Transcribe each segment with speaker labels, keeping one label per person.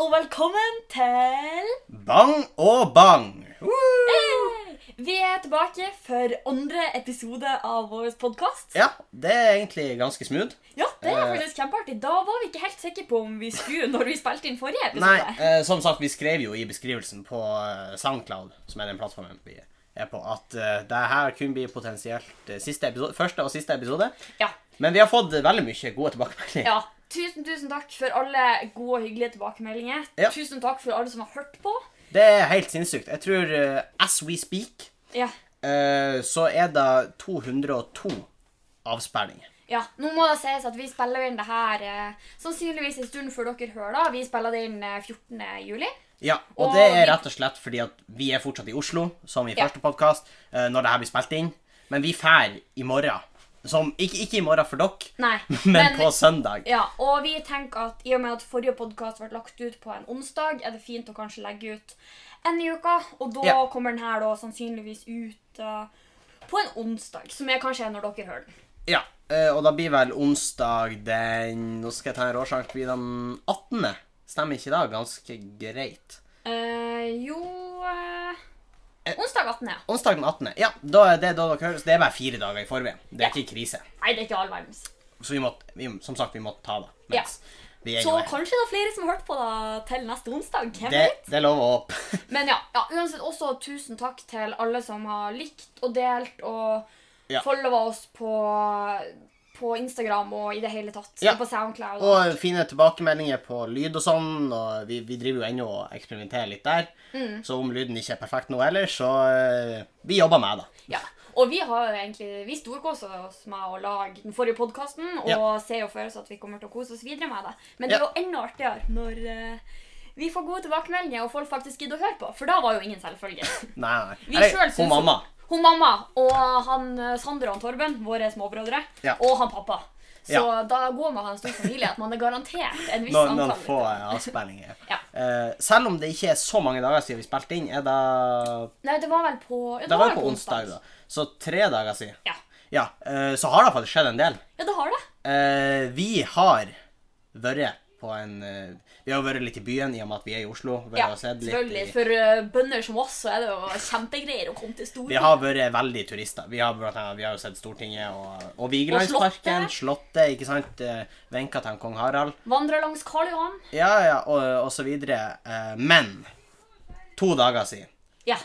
Speaker 1: og velkommen til
Speaker 2: Bang og bang!
Speaker 1: Hey! Vi er tilbake for andre episode av vår podkast.
Speaker 2: Ja, det er egentlig ganske smooth.
Speaker 1: Ja, det er
Speaker 2: Eh.
Speaker 1: faktisk kjempeartig. Da var vi ikke helt sikre på om vi skulle når vi spilte inn forrige
Speaker 2: Nei,
Speaker 1: episode.
Speaker 2: eh, som sagt, vi skrev jo i beskrivelsen på eh, Soundcloud, som er den plattformen vi er på, at eh, det her kunne bli potensielt eh, siste episode, første og siste episode.
Speaker 1: Ja.
Speaker 2: Men vi har fått veldig mye gode tilbakemeldinger.
Speaker 1: ja. Tusen, tusen takk for alle gode og hyggelige tilbakemeldinger.
Speaker 2: Ja.
Speaker 1: Tusen takk for alle som har hørt på.
Speaker 2: Det er helt sinnssykt. Jeg tror eh, as we speak,
Speaker 1: Ja.
Speaker 2: eh, så er det 202 avspillinger.
Speaker 1: Ja, Nå må det sies at vi spiller inn det her eh, sannsynligvis en stund før dere hører. da. Vi spiller det inn eh, 14. juli.
Speaker 2: Ja, og
Speaker 1: Og
Speaker 2: det er
Speaker 1: vi-
Speaker 2: rett og slett fordi at vi er fortsatt i Oslo, som i
Speaker 1: Ja.
Speaker 2: første podkast, når det her blir spilt inn. Men vi fær i morgen. Som, ikke, ikke i morgen for dere,
Speaker 1: Nei,
Speaker 2: men, på søndag.
Speaker 1: Ja, og vi tenker at i og med at forrige podkast ble lagt ut på en onsdag, er det fint å kanskje legge ut en i uka, og da
Speaker 2: Ja.
Speaker 1: kommer den her da sannsynligvis ut eh, på en onsdag, som er kanskje når dere hører den.
Speaker 2: Ja, eh, Og da blir vel onsdag den Nå skal jeg ta en råsjanse. det Blir den 18. Stemmer ikke da? Ganske greit.
Speaker 1: Eh, jo eh, Onsdag 18. ja.
Speaker 2: Onsdag den 18. Ja, da er det da dere hører. Så det er bare fire dager i forveien. Det er ikke krise.
Speaker 1: Nei, det er ikke all verdens.
Speaker 2: Så vi måtte, vi, som sagt, vi måtte ta det.
Speaker 1: Ja.
Speaker 2: mens vi er
Speaker 1: Så
Speaker 2: jo her.
Speaker 1: kanskje det er flere som har hørt på da til neste onsdag. Hvem
Speaker 2: det,
Speaker 1: vet?
Speaker 2: det er lov å håpe.
Speaker 1: Men ja, ja, uansett også tusen takk til alle som har likt og delt og
Speaker 2: Ja.
Speaker 1: followa oss på, på Instagram og i det hele tatt.
Speaker 2: Ja.
Speaker 1: Og på SoundCloud. Og,
Speaker 2: Og fine tilbakemeldinger på lyd og sånn, og vi, vi driver jo ennå og eksperimenterer litt der.
Speaker 1: Mm.
Speaker 2: Så om lyden ikke er perfekt nå heller, så eh, vi jobber med det.
Speaker 1: ja. og vi har jo egentlig, vi storkoser oss med å lage den forrige podkasten og
Speaker 2: Ja.
Speaker 1: ser jo for oss at vi kommer til å kose oss videre med det. Men det er
Speaker 2: Ja.
Speaker 1: jo enda artigere når eh, vi får gode tilbakemeldinger og folk faktisk gidder å høre på, for da var jo ingen selvfølge.
Speaker 2: Nei, nei.
Speaker 1: Vi
Speaker 2: Eller,
Speaker 1: selv synes
Speaker 2: hun mamma.
Speaker 1: Hun mamma og han eh, Sander og han Torben, våre småbrødre,
Speaker 2: Ja.
Speaker 1: og han pappa. Så
Speaker 2: Ja.
Speaker 1: da går man av en stor familie at man er garantert en viss
Speaker 2: Noen,
Speaker 1: antall.
Speaker 2: noen få eh, avspillinger.
Speaker 1: Ja.
Speaker 2: Eh, selv om det ikke er så mange dager siden vi spilte inn, er det
Speaker 1: Nei, det var vel på ja,
Speaker 2: Det var jo på onsdag, da. Så tre dager siden.
Speaker 1: Ja.
Speaker 2: Ja, eh, så har det faktisk skjedd en del.
Speaker 1: ja, det har det.
Speaker 2: Eh, vi har vært på en eh, Vi har vært litt i byen i og med at vi er i Oslo. vært
Speaker 1: Ja,
Speaker 2: og sett litt
Speaker 1: selvfølgelig.
Speaker 2: i-
Speaker 1: For eh, bønder som oss så er det jo kjempegreier å komme til
Speaker 2: Vi
Speaker 1: Storby.
Speaker 2: har vært veldig turister. Vi har, blant annet, vi har jo sett Stortinget og, og Vigelandsparken.
Speaker 1: Og
Speaker 2: Slottet, ikke sant. Eh, Venka til han kong Harald.
Speaker 1: Vandre langs Karl Johan.
Speaker 2: Ja, ja, og, og så videre. Eh, Men to dager siden
Speaker 1: Ja,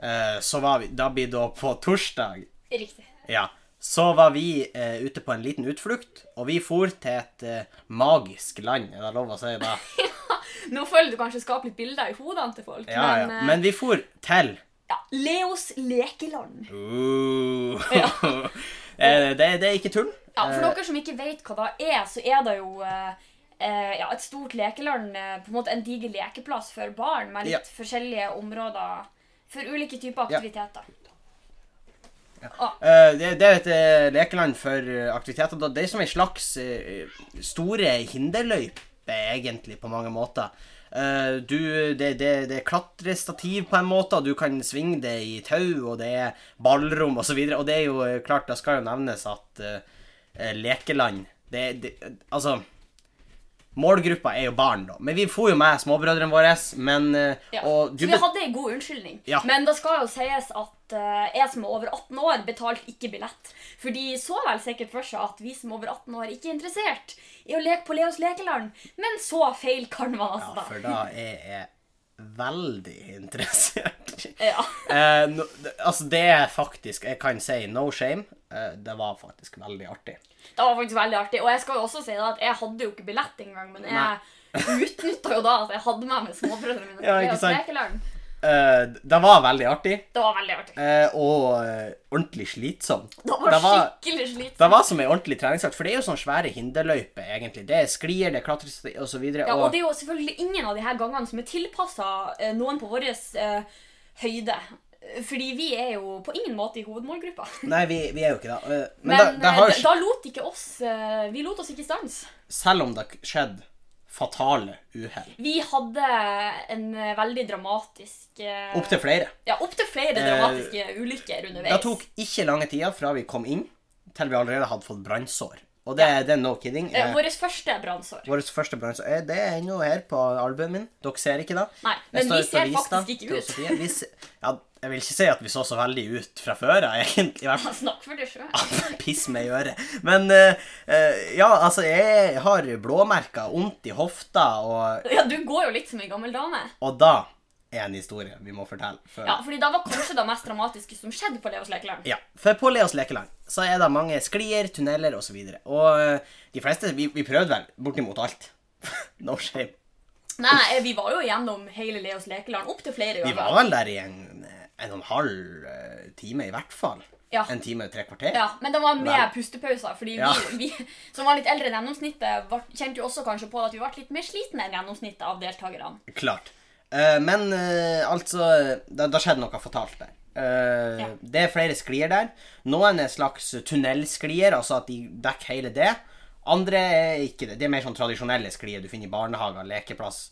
Speaker 2: eh, så var vi Da blir det på torsdag.
Speaker 1: riktig.
Speaker 2: Ja. Så var vi eh, ute på en liten utflukt, og vi for til et eh, magisk land. Er det lov å si det?
Speaker 1: Nå føler du kanskje skaper litt bilder i hodene til folk,
Speaker 2: Ja,
Speaker 1: men,
Speaker 2: ja.
Speaker 1: eh,
Speaker 2: Men vi for til
Speaker 1: ja, Leos lekeland.
Speaker 2: uh, Eh, det, det er ikke tull.
Speaker 1: Ja, For
Speaker 2: Eh.
Speaker 1: dere som ikke vet hva det er, så er det jo eh, eh, ja, et stort lekeland. eh, på En måte en diger lekeplass for barn med litt
Speaker 2: Ja.
Speaker 1: forskjellige områder for ulike typer
Speaker 2: Ja.
Speaker 1: aktiviteter. Ah.
Speaker 2: Eh, Det, det er et eh, lekeland for eh, aktiviteter. da. Det er som ei slags eh, store hinderløype, egentlig, på mange måter. Eh, Du, det, det, det er klatrestativ på en måte, og du kan svinge det i tau, og det er ballrom osv. Og det er jo eh, klart, det skal jo nevnes at eh, eh, lekeland det, det, Altså Målgruppa er jo barn, da. Men vi for jo med småbrødrene våre. Men eh,
Speaker 1: Ja.
Speaker 2: Og du
Speaker 1: så vi hadde en god unnskyldning.
Speaker 2: Ja.
Speaker 1: Men det skal jo sies at eh, jeg som er over 18 år, betalte ikke billett. For de så vel sikkert for seg at vi som er over 18 år ikke er interessert i å leke på Leos lekeland. Men så feil kan man altså.
Speaker 2: Ja, for da er jeg veldig interessert.
Speaker 1: Ja.
Speaker 2: Eh, no, det- altså, det er faktisk Jeg kan si no shame. Eh, det var faktisk veldig artig.
Speaker 1: Det var faktisk veldig artig. Og jeg skal jo også si da at jeg hadde jo ikke billett engang, men
Speaker 2: Nei.
Speaker 1: jeg utnytta jo da at jeg hadde med meg småbrødrene mine. til
Speaker 2: Ja,
Speaker 1: Leo
Speaker 2: ikke sant?
Speaker 1: Spekeland.
Speaker 2: Eh, det var veldig artig,
Speaker 1: Det var veldig artig.
Speaker 2: eh, og eh, ordentlig slitsomt.
Speaker 1: Det var,
Speaker 2: det var,
Speaker 1: skikkelig slitsomt.
Speaker 2: det var som ei ordentlig treningsøkt, for det er jo sånne svære hinderløyper, egentlig. Det er sklier, det er klatrestativ osv.
Speaker 1: Ja, og det er jo selvfølgelig ingen av de her gangene som er tilpassa eh, noen på vår eh, høyde. Fordi vi er jo på ingen måte i hovedmålgruppa.
Speaker 2: Nei, vi, vi er jo ikke det. Eh, men
Speaker 1: Men,
Speaker 2: det, det har
Speaker 1: eh,
Speaker 2: jo
Speaker 1: da,
Speaker 2: skj-
Speaker 1: da lot ikke oss eh, Vi lot oss ikke i stans.
Speaker 2: Selv om det skjedde fatale uhell.
Speaker 1: Vi hadde en eh, veldig dramatisk eh,
Speaker 2: Opptil flere.
Speaker 1: Ja, opptil flere dramatiske ulykker underveis.
Speaker 2: Det tok ikke lange tida fra vi kom inn, til vi allerede hadde fått brannsår. Og det, det er no kidding.
Speaker 1: Eh,
Speaker 2: Eh,
Speaker 1: Vårt første brannsår.
Speaker 2: Vår første brann, så er det ennå her på albumet min. Dere ser ikke det.
Speaker 1: Nei,
Speaker 2: Jeg
Speaker 1: men vi
Speaker 2: står
Speaker 1: ser
Speaker 2: på lista
Speaker 1: faktisk ikke
Speaker 2: til
Speaker 1: ut.
Speaker 2: Sofie. Vi se- ja, jeg vil ikke si at vi så så veldig ut fra før, jeg, egentlig. I hvert fall
Speaker 1: Snakk for deg sjøl.
Speaker 2: Piss meg i øret. Men eh, eh, ja, altså, jeg har blåmerker, vondt i hofta, og,
Speaker 1: Ja, du går jo litt som en gammel dame.
Speaker 2: og da er en historie vi må fortelle. Før.
Speaker 1: Ja, fordi det var kanskje det mest dramatiske som skjedde på Leos lekeland.
Speaker 2: Ja, for på Leos lekeland så er det mange sklier, tunneler osv. Og, så videre. og eh, de fleste Vi, vi prøvde vel bortimot alt. no shame.
Speaker 1: Nei, eh, vi var jo gjennom hele Leos lekeland opptil flere
Speaker 2: Vi
Speaker 1: ganger.
Speaker 2: var vel der i en, en og en halv eh, time, i hvert fall.
Speaker 1: Ja.
Speaker 2: En time og tre kvarter.
Speaker 1: Ja, men det var med
Speaker 2: Vel.
Speaker 1: pustepauser, fordi
Speaker 2: Ja.
Speaker 1: vi, vi som var litt eldre enn gjennomsnittet, var, kjente jo også kanskje på at vi ble litt mer slitne enn gjennomsnittet av deltakerne.
Speaker 2: Klart. Eh, men eh, altså Da, da skjedde noe fatalt der. Eh,
Speaker 1: Ja.
Speaker 2: Det er flere sklier der. Noen er slags tunnelsklier, altså at de dekker hele det. Andre er ikke det. Det er mer sånn tradisjonelle sklier du finner i barnehager, lekeplass,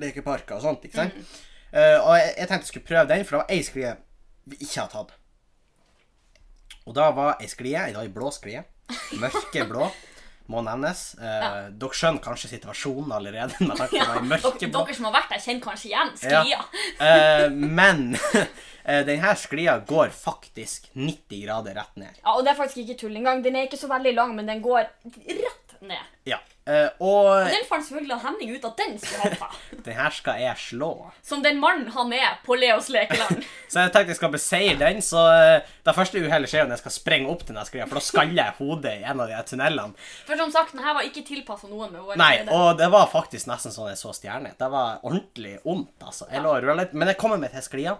Speaker 2: lekeparker og sånt.
Speaker 1: Mm.
Speaker 2: ikke sant? Eh, og jeg, jeg tenkte jeg skulle prøve den, for det var ei sklie vi ikke har tatt. Og da var ei sklie, i dag blå sklie, mørkeblå, må nevnes. Eh, Dere skjønner kanskje situasjonen allerede. når det var i
Speaker 1: Dere,
Speaker 2: mørkeblå.
Speaker 1: dere som har vært der, kjenner kanskje igjen sklia.
Speaker 2: Ja. Eh, men denne sklia går faktisk 90 grader rett ned.
Speaker 1: Ja, og det er faktisk ikke tull engang. Den er ikke så veldig lang, men den går rett ned.
Speaker 2: Ja. Eh, og
Speaker 1: Den fant selvfølgelig Henning ut at den skulle han ta.
Speaker 2: denne skal jeg slå.
Speaker 1: Som den mannen han er på Leos lekeland.
Speaker 2: Så jeg tenkte jeg skal beseire den, så eh, det første uhellet skjer jo når jeg skal sprenge opp denne sklia, for da skaller jeg hodet i en av de her tunnelene.
Speaker 1: For som sagt, den her var ikke tilpassa noen med våre
Speaker 2: Nei,
Speaker 1: gleder.
Speaker 2: og det var faktisk nesten sånn jeg så stjerne. Det var ordentlig vondt, altså. Jeg lå og rullet, men jeg kommer meg til sklia,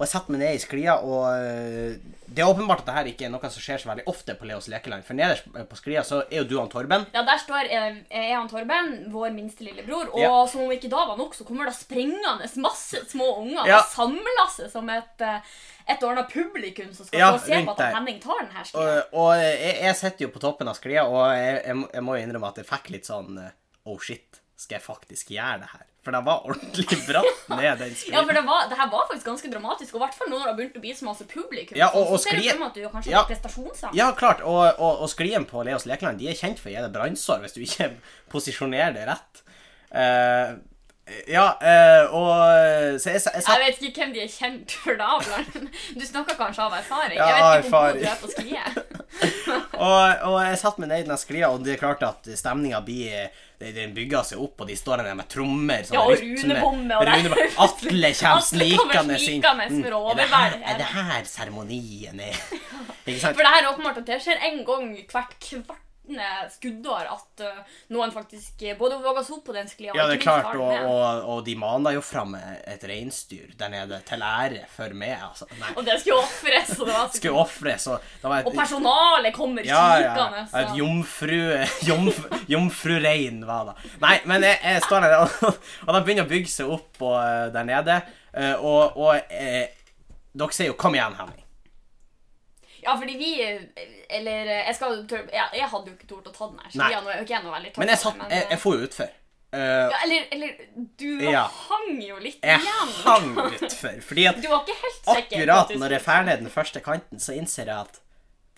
Speaker 2: og jeg setter meg ned i sklia, og eh, det er åpenbart at dette ikke er noe som skjer så veldig ofte på Leos lekeland, for nederst på sklia så er jo du og Torben.
Speaker 1: Ja, Der står eh, jeg og Torben, vår minste lillebror. Og
Speaker 2: Ja.
Speaker 1: som om ikke da var nok, så kommer det springende masse små unger
Speaker 2: Ja.
Speaker 1: og samler seg som et, eh, et ordna publikum som skal
Speaker 2: Ja,
Speaker 1: få se
Speaker 2: rundt
Speaker 1: på at
Speaker 2: der.
Speaker 1: Henning tar den her sklia.
Speaker 2: Og, eh, og jeg, jeg sitter jo på toppen av sklia, og jeg, jeg, må- jeg må jo innrømme at jeg fikk litt sånn eh, Oh shit, skal jeg faktisk gjøre det her? For det var ordentlig bratt ned den sklia.
Speaker 1: Ja, for det, var, det her var faktisk ganske dramatisk, og i hvert fall nå når det har begynt å bli så masse publikum.
Speaker 2: Ja,
Speaker 1: så
Speaker 2: og- og
Speaker 1: ser det ut
Speaker 2: sklie-
Speaker 1: som at du kanskje
Speaker 2: Ja.
Speaker 1: har prestasjonssang.
Speaker 2: Ja, klart. Og, og, og sklien på Leos Lekeland de er kjent for å gi deg brannsår hvis du ikke posisjonerer det rett. Eh, ja, eh, og Så jeg, sa- jeg
Speaker 1: Jeg
Speaker 2: satt
Speaker 1: vet ikke hvem de er kjent for da, Blant. Du snakker kanskje av erfaring?
Speaker 2: Ja,
Speaker 1: jeg vet ikke hvor god du
Speaker 2: erfaring.
Speaker 1: er på sklie.
Speaker 2: Og, og jeg satt meg ned i den sklia, og det er klart at stemninga blir den- Den bygger seg opp, og de står der med trommer. sånn
Speaker 1: Ja, og
Speaker 2: rytme.
Speaker 1: runebomme, og det-
Speaker 2: Runebomme. Atle kommer
Speaker 1: Atle kommer
Speaker 2: snikende inn. Mm.
Speaker 1: snikende med
Speaker 2: er, det her,
Speaker 1: rådebær.
Speaker 2: er det her seremonien er? Ikke sant?
Speaker 1: For det her er åpenbart at det skjer en gang hvert kvartende skuddår at ø, noen faktisk ø, både våger seg opp på den sklia og
Speaker 2: Ja, det er
Speaker 1: ikke minst
Speaker 2: klart,
Speaker 1: tar den
Speaker 2: og,
Speaker 1: med.
Speaker 2: og, og de maner jo fram et reinsdyr der nede til ære for meg, altså. Nei.
Speaker 1: Og det skulle ofres, og det var
Speaker 2: skulle ofre, så det var et,
Speaker 1: Og personalet kommer
Speaker 2: ja,
Speaker 1: kikende.
Speaker 2: ja,
Speaker 1: så-
Speaker 2: et jomfru, jomfru, jomfrurein var det. Nei, men jeg, jeg står der, og, og det begynner å bygge seg opp og, eh, der nede. eh, Og, og eh, dere sier jo 'kom igjen, Henning'.
Speaker 1: Ja, fordi vi Eller eh, jeg, skal, jeg, jeg hadde jo ikke tort å ta den her. Så
Speaker 2: Nei.
Speaker 1: vi er nå ikke jeg noe veldig tøff,
Speaker 2: Men jeg, satt, jeg, jeg for jo utfor. Eh,
Speaker 1: ja, eller, eller du
Speaker 2: Ja.
Speaker 1: hang jo litt
Speaker 2: Jeg
Speaker 1: igjen.
Speaker 2: hang utfor. Fordi at
Speaker 1: Du var ikke helt sikker. på at
Speaker 2: akkurat
Speaker 1: du
Speaker 2: når jeg
Speaker 1: skulle-
Speaker 2: drar ned den første kanten, så innser jeg at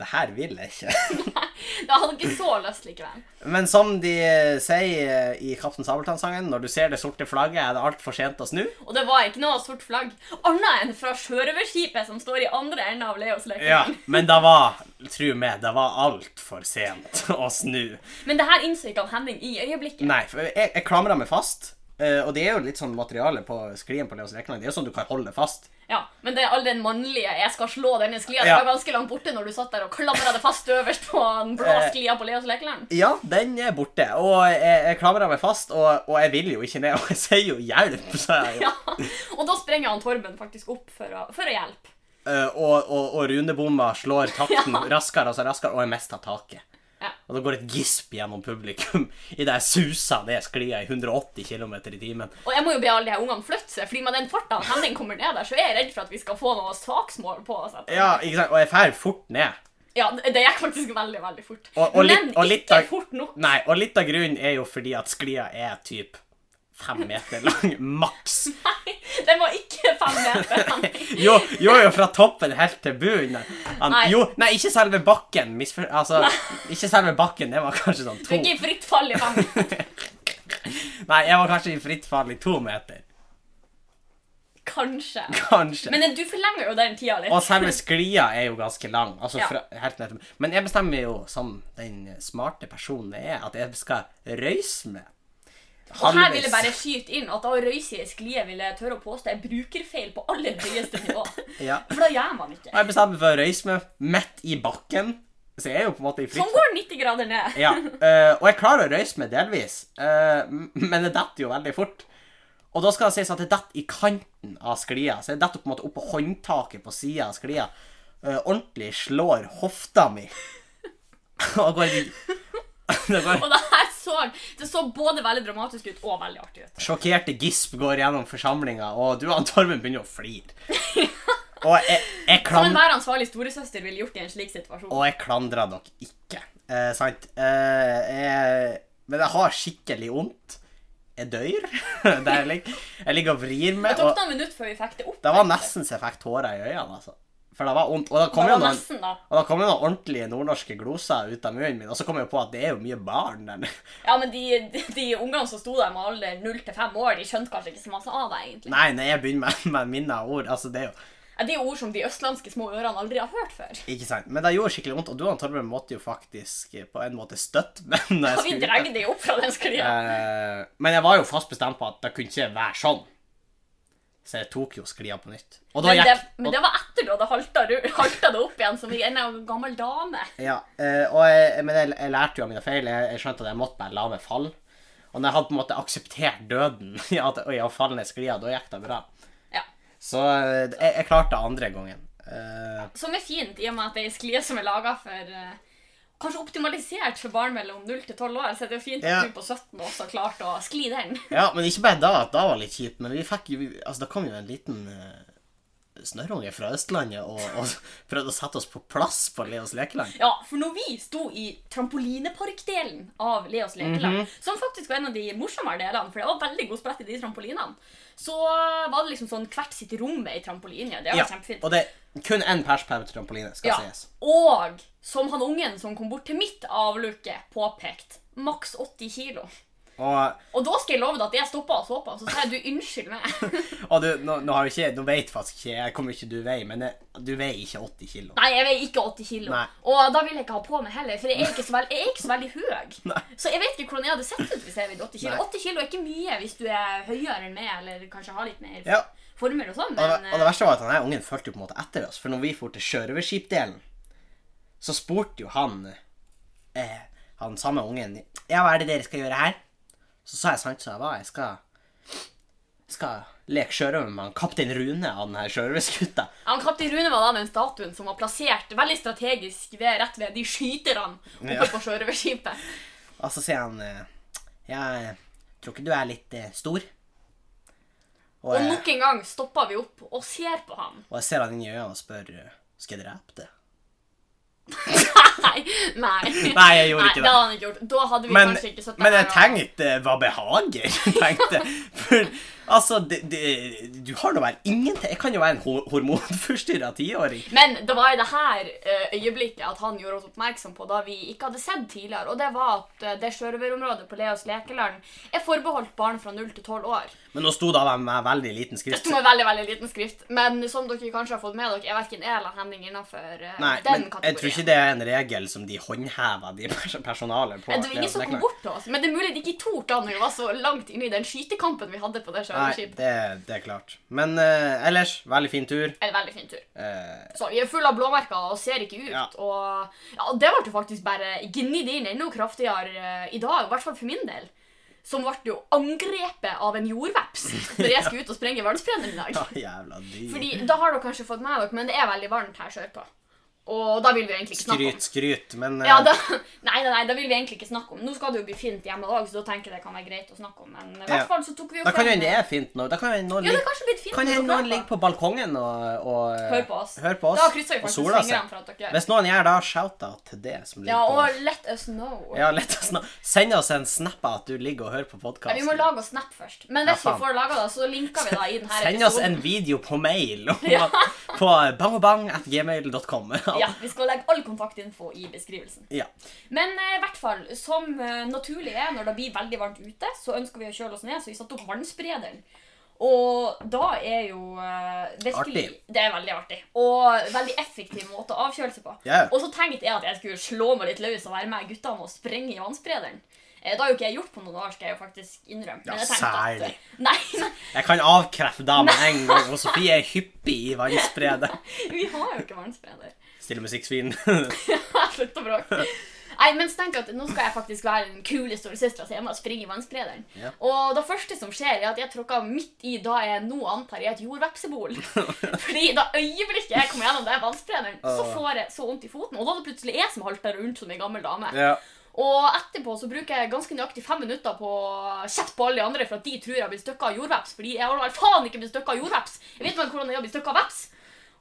Speaker 2: det her vil jeg ikke.
Speaker 1: Jeg hadde ikke så lyst likevel.
Speaker 2: Men som de eh, sier eh, i Kaptein Sabeltann-sangen, når du ser det sorte flagget, er det altfor sent å snu.
Speaker 1: Og det var ikke noe sort flagg. Annet enn fra sjørøverskipet som står i andre enden av Leos
Speaker 2: Ja,
Speaker 1: lekeland.
Speaker 2: men det var, tro meg, det var altfor sent å snu.
Speaker 1: Men det her innså ikke han Henning i øyeblikket.
Speaker 2: Nei, for jeg, jeg klamra meg fast. eh, og det er jo litt sånn materiale på sklien på Leos Rekeland. Det er jo sånn du kan holde fast.
Speaker 1: Ja, Men det er all den mannlige 'jeg skal slå denne sklia'
Speaker 2: Ja.
Speaker 1: Det var ganske langt borte når du satt der og klamra deg fast øverst på den blå
Speaker 2: Eh.
Speaker 1: sklia på Leos lekeland.
Speaker 2: Ja, den er borte. Og jeg, jeg klamra meg fast, og, og jeg vil jo ikke ned. Og jeg sier jo 'hjelp', sa jeg jo.
Speaker 1: Ja. Og da sprenger han Torben faktisk opp for å, for å hjelpe.
Speaker 2: Eh, og, og, og runebomma slår takten raskere og så raskere, og jeg mister taket.
Speaker 1: Ja.
Speaker 2: Og det går et gisp gjennom publikum idet jeg suser ned sklia i 180 km i timen.
Speaker 1: Og jeg må jo be alle de her ungene flytte seg, fordi med den farta Henning kommer ned der, så er jeg redd for at vi skal få noe saksmål på oss. etter.
Speaker 2: Ja, ikke sant? Og jeg drar fort ned.
Speaker 1: Ja, det det gikk faktisk veldig, veldig fort.
Speaker 2: Og- og litt-
Speaker 1: Men
Speaker 2: og litt
Speaker 1: ikke
Speaker 2: av-
Speaker 1: fort nok.
Speaker 2: Nei, og litt av grunnen er jo fordi at sklia er typ fem meter lang, maks.
Speaker 1: Den var ikke fem meter.
Speaker 2: Jo, jo, jo, fra toppen helt til bunnen. Han,
Speaker 1: Nei.
Speaker 2: Jo, nei, ikke selve bakken. Misfor, altså, ikke selve bakken, det var kanskje sånn
Speaker 1: Du er
Speaker 2: to.
Speaker 1: ikke i fritt fall i fem meter.
Speaker 2: Nei, jeg var kanskje i fritt fall i to meter.
Speaker 1: Kanskje.
Speaker 2: Kanskje.
Speaker 1: Men du forlenger jo den tida litt.
Speaker 2: Og selve sklia er jo ganske lang. Altså
Speaker 1: Ja.
Speaker 2: fra, helt ned til, men jeg bestemmer jo, som den smarte personen jeg er, at jeg skal røyse med.
Speaker 1: Og her vil
Speaker 2: Halvveis.
Speaker 1: jeg bare skyte inn at å røyse i ei sklie vil jeg tørre å påstå er brukerfeil på aller høyeste nivå.
Speaker 2: Ja.
Speaker 1: For da gjør man ikke.
Speaker 2: Og jeg bestemmer meg for å røyse meg midt i bakken. Så jeg er jo på en måte i fritt
Speaker 1: Sånn går 90 grader ned.
Speaker 2: Ja, eh, og jeg klarer å røyse meg delvis, eh, m- men det detter jo veldig fort. Og da skal det sies at det detter i kanten av sklia, så jeg detter på en måte opp på håndtaket på sida av sklia. Eh, ordentlig slår hofta mi. og går i Det går
Speaker 1: Og det her så, det så både veldig dramatisk ut og veldig artig ut.
Speaker 2: Sjokkerte gisp går gjennom forsamlinga, og du og Torben begynner å flire. Og jeg, jeg
Speaker 1: Som
Speaker 2: klam...
Speaker 1: enhver Sånn ansvarlig storesøster ville gjort i en slik situasjon.
Speaker 2: Og jeg klandrer dere ikke. Eh, sant? Eh, jeg, men jeg har skikkelig vondt. Jeg dør. Der jeg, ligger. jeg ligger og vrir
Speaker 1: Det
Speaker 2: meg.
Speaker 1: tok
Speaker 2: Og
Speaker 1: noen minutter før vi fikk det opp.
Speaker 2: det var nesten så jeg fikk tårer i øynene. altså. For det var vondt. Og da kom
Speaker 1: Det var
Speaker 2: jo noen,
Speaker 1: nesten, da.
Speaker 2: og da kom jo noen ordentlige nordnorske gloser ut av munnen min. Og så kom jeg jo på at det er jo mye barn der nede.
Speaker 1: Ja, men de, de, de ungene som sto der med alder 0 til 5 år, de skjønte kanskje ikke så masse av det, egentlig.
Speaker 2: Nei, når jeg begynner med, med minner og ord altså det er jo,
Speaker 1: Ja, Det er jo ord som de østlandske små ørene aldri har hørt før.
Speaker 2: ikke sant. Men det gjorde skikkelig vondt, og du og Torben måtte jo faktisk eh, på en måte støtte meg. når jeg
Speaker 1: Og vi
Speaker 2: skulle ut
Speaker 1: drar det jo opp fra den sklia.
Speaker 2: Eh, men jeg var jo fast bestemt på at det kunne ikke være sånn. Så jeg tok jo sklia på nytt. Og da
Speaker 1: Men,
Speaker 2: gikk
Speaker 1: det- men det var etter da det halta, ru- halta det opp igjen, som i en av en gammel dame.
Speaker 2: ja, eh, og jeg, Men jeg, jeg lærte jo av mine feil. Jeg, jeg skjønte at jeg måtte bare la meg falle. Og når jeg hadde på en måte akseptert døden i at- i å falle ned sklia, da gikk det bra.
Speaker 1: Ja.
Speaker 2: Så eh, jeg, jeg klarte det andre gangen. Eh,
Speaker 1: Som er fint, i og med at det er ei sklie som er laga for eh, Kanskje optimalisert for barn mellom 0 til 12 år, så det er jo fint
Speaker 2: Ja.
Speaker 1: at du på 17 også har klart å skli den.
Speaker 2: ja, men ikke bare da at det var litt kjipt, men vi fikk jo Altså, det kom jo en liten eh, snørrunge fra Østlandet og, og prøvde å sette oss på plass på Leos lekeland.
Speaker 1: Ja, for når vi sto i trampolineparkdelen av Leos lekeland, som faktisk var en av de morsommere delene, for det var veldig god sprett i de trampolinene, så var det liksom sånn hvert sitt rom med ei trampoline. Det var
Speaker 2: Ja,
Speaker 1: kjempefint.
Speaker 2: og det er kun én pers per trampoline, skal
Speaker 1: Ja.
Speaker 2: sies.
Speaker 1: Og som han ungen som kom bort til mitt avluke, påpekte maks 80 kilo.
Speaker 2: Og,
Speaker 1: Og da skal jeg love deg at jeg stoppa og så på, så sa jeg du unnskyld meg.
Speaker 2: og du, nå, nå, har jo ikke, nå vet faktisk ikke jeg hvor mye du veier, men jeg, du veier ikke 80 kilo.
Speaker 1: Nei, jeg veier ikke 80 kilo.
Speaker 2: Nei.
Speaker 1: Og da vil jeg ikke ha på meg heller, for jeg er ikke så, vel- jeg er ikke så veldig høy. Så jeg vet ikke hvordan jeg hadde sett ut hvis jeg veide 80 kilo.
Speaker 2: Nei.
Speaker 1: 80 kilo er ikke mye hvis du er høyere enn meg, eller kanskje har litt mer
Speaker 2: Ja.
Speaker 1: former og sånn,
Speaker 2: Og, det,
Speaker 1: men
Speaker 2: og det verste var at han her ungen fulgte jo på en måte etter oss, for når vi for til sjørøverskipdelen, så spurte jo han eh, han samme ungen Ja, hva er det dere skal gjøre her? Så sa jeg sant som jeg var. Jeg skal, skal leke sjørøver med han kaptein Rune av den her sjørøverskuta.
Speaker 1: eh, Han Kaptein Rune var da den statuen som var plassert veldig strategisk ved, rett ved de skyterne oppe
Speaker 2: Ja.
Speaker 1: på sjørøverskipet.
Speaker 2: Og så sier han eh, Ja, jeg tror ikke du er litt eh, stor. Og,
Speaker 1: Og
Speaker 2: jeg-
Speaker 1: nok en gang stopper vi opp og ser på han.
Speaker 2: og jeg ser han inn i øynene og spør eh, Skal jeg drepe det?
Speaker 1: Nei. Nei,
Speaker 2: Nei, jeg gjorde ikke det.
Speaker 1: det hadde han ikke gjort. Da hadde vi
Speaker 2: Men,
Speaker 1: kanskje ikke sittet
Speaker 2: men jeg
Speaker 1: her og-
Speaker 2: tenkte Hva behager? tenkte jeg. For altså, det, det, du har nå vel ingenting Jeg kan jo være en ho- hormonforstyrra tiåring.
Speaker 1: Men det var i det her eh, øyeblikket at han gjorde oss oppmerksom på da vi ikke hadde sett tidligere, og det var at eh, det sjørøverområdet på Leos lekeland er forbeholdt barn fra 0 til 12 år.
Speaker 2: Men nå sto det av med veldig liten
Speaker 1: Det
Speaker 2: skrift.
Speaker 1: sto med veldig veldig liten skrift, men som dere kanskje har fått med dere, er verken jeg eller Henning innafor
Speaker 2: Nei,
Speaker 1: den
Speaker 2: men
Speaker 1: kategorien.
Speaker 2: jeg tror ikke det er en regel som de håndhever, de pers personalet på.
Speaker 1: Det var ingen som kom bort til oss, men det er mulig de ikke torde da når vi var så langt inne i den skytekampen vi hadde på det
Speaker 2: Nei,
Speaker 1: sjørøverskipet.
Speaker 2: det, det er klart. Men eh, ellers, veldig fin tur.
Speaker 1: En veldig fin tur.
Speaker 2: Eh,
Speaker 1: Så vi er full av blåmerker og ser ikke ut.
Speaker 2: Ja.
Speaker 1: Og ja, og det ble jo faktisk bare gnidd inn enda kraftigere eh, i dag, i hvert fall for min del. Som ble jo angrepet av en jordveps når jeg skulle ut og sprenge vannsprenner i dag.
Speaker 2: jævla dyr.
Speaker 1: Fordi, da har dere kanskje fått med dere, men det er veldig varmt her sørpå. Og da vil vi jo egentlig ikke snakke om
Speaker 2: Skryt, skryt, men eh,
Speaker 1: ja, da, nei, nei, nei, da vil vi egentlig ikke snakke om Nå skal det jo bli fint hjemme òg, så da tenker jeg det kan være greit å snakke om. Men i
Speaker 2: Ja.
Speaker 1: hvert fall så tok vi jo
Speaker 2: da kan jo
Speaker 1: frem-
Speaker 2: hende det er fint nå. Da kan jo hende noen
Speaker 1: Ja, det er
Speaker 2: ligge,
Speaker 1: kanskje litt fint.
Speaker 2: kan
Speaker 1: når
Speaker 2: hende
Speaker 1: dere
Speaker 2: noen
Speaker 1: prater.
Speaker 2: ligger på balkongen og, og eh,
Speaker 1: Hør på oss.
Speaker 2: hører på oss
Speaker 1: Da krysser vi
Speaker 2: og
Speaker 1: faktisk
Speaker 2: soler seg.
Speaker 1: fingrene for at dere
Speaker 2: Hvis noen gjør det, shout-out til det som ligger
Speaker 1: Ja,
Speaker 2: på
Speaker 1: og let us know.
Speaker 2: Ja, lett å snak- Send oss en snap av at du ligger og hører på
Speaker 1: Nei,
Speaker 2: podkasten.
Speaker 1: vi må lage oss snap først. Men hvis
Speaker 2: Ja, faen.
Speaker 1: vi får laga det, så linker vi da i denne
Speaker 2: Send oss en video på mail om
Speaker 1: Ja.
Speaker 2: at- på bangobang.gmail.com.
Speaker 1: Ja, Vi skal legge all kontaktinfo i beskrivelsen.
Speaker 2: ja.
Speaker 1: Men eh, i hvert fall, som eh, naturlig er når det blir veldig varmt ute, så ønsker vi å kjøle oss ned, så vi satte opp vannsprederen. Og da er jo eh, virkelig
Speaker 2: Artig.
Speaker 1: Det er veldig artig. Og veldig effektiv måte å avkjøle seg på.
Speaker 2: Ja.
Speaker 1: Og så tenkte jeg at jeg skulle slå meg litt løs og være med guttene og sprenge i vannsprederen. Eh, Det har jo ikke jeg gjort på noen år, skal jeg jo faktisk innrømme.
Speaker 2: Ja,
Speaker 1: Men jeg tenkte at-
Speaker 2: særlig.
Speaker 1: Nei, nei,
Speaker 2: Jeg kan avkrefte da med en gang, og Sofie er hyppig i vannspredet.
Speaker 1: vi har jo ikke vannspreder.
Speaker 2: Stille musikksvin.
Speaker 1: Slutt å bråke. Nei, men så tenker jeg at nå skal jeg faktisk være den kule storesøstera så jeg må springe i vannsprederen.
Speaker 2: Ja.
Speaker 1: Og det første som skjer, er at jeg tråkker midt i da jeg nå antar er et jordvepsebol. Fordi da øyeblikket jeg kommer gjennom det vannsprederen, så
Speaker 2: Åh.
Speaker 1: får jeg så vondt i foten. Og da er det plutselig jeg som halter rundt som ei gammel dame.
Speaker 2: ja.
Speaker 1: Og etterpå så bruker jeg ganske nøyaktig fem minutter på å kjefte på alle de andre for at de tror jeg har blitt støkka av jordveps. Fordi jeg har vel faen ikke blitt støkka av jordveps! Jeg vet ikke hvordan jeg har blitt støkka av veps.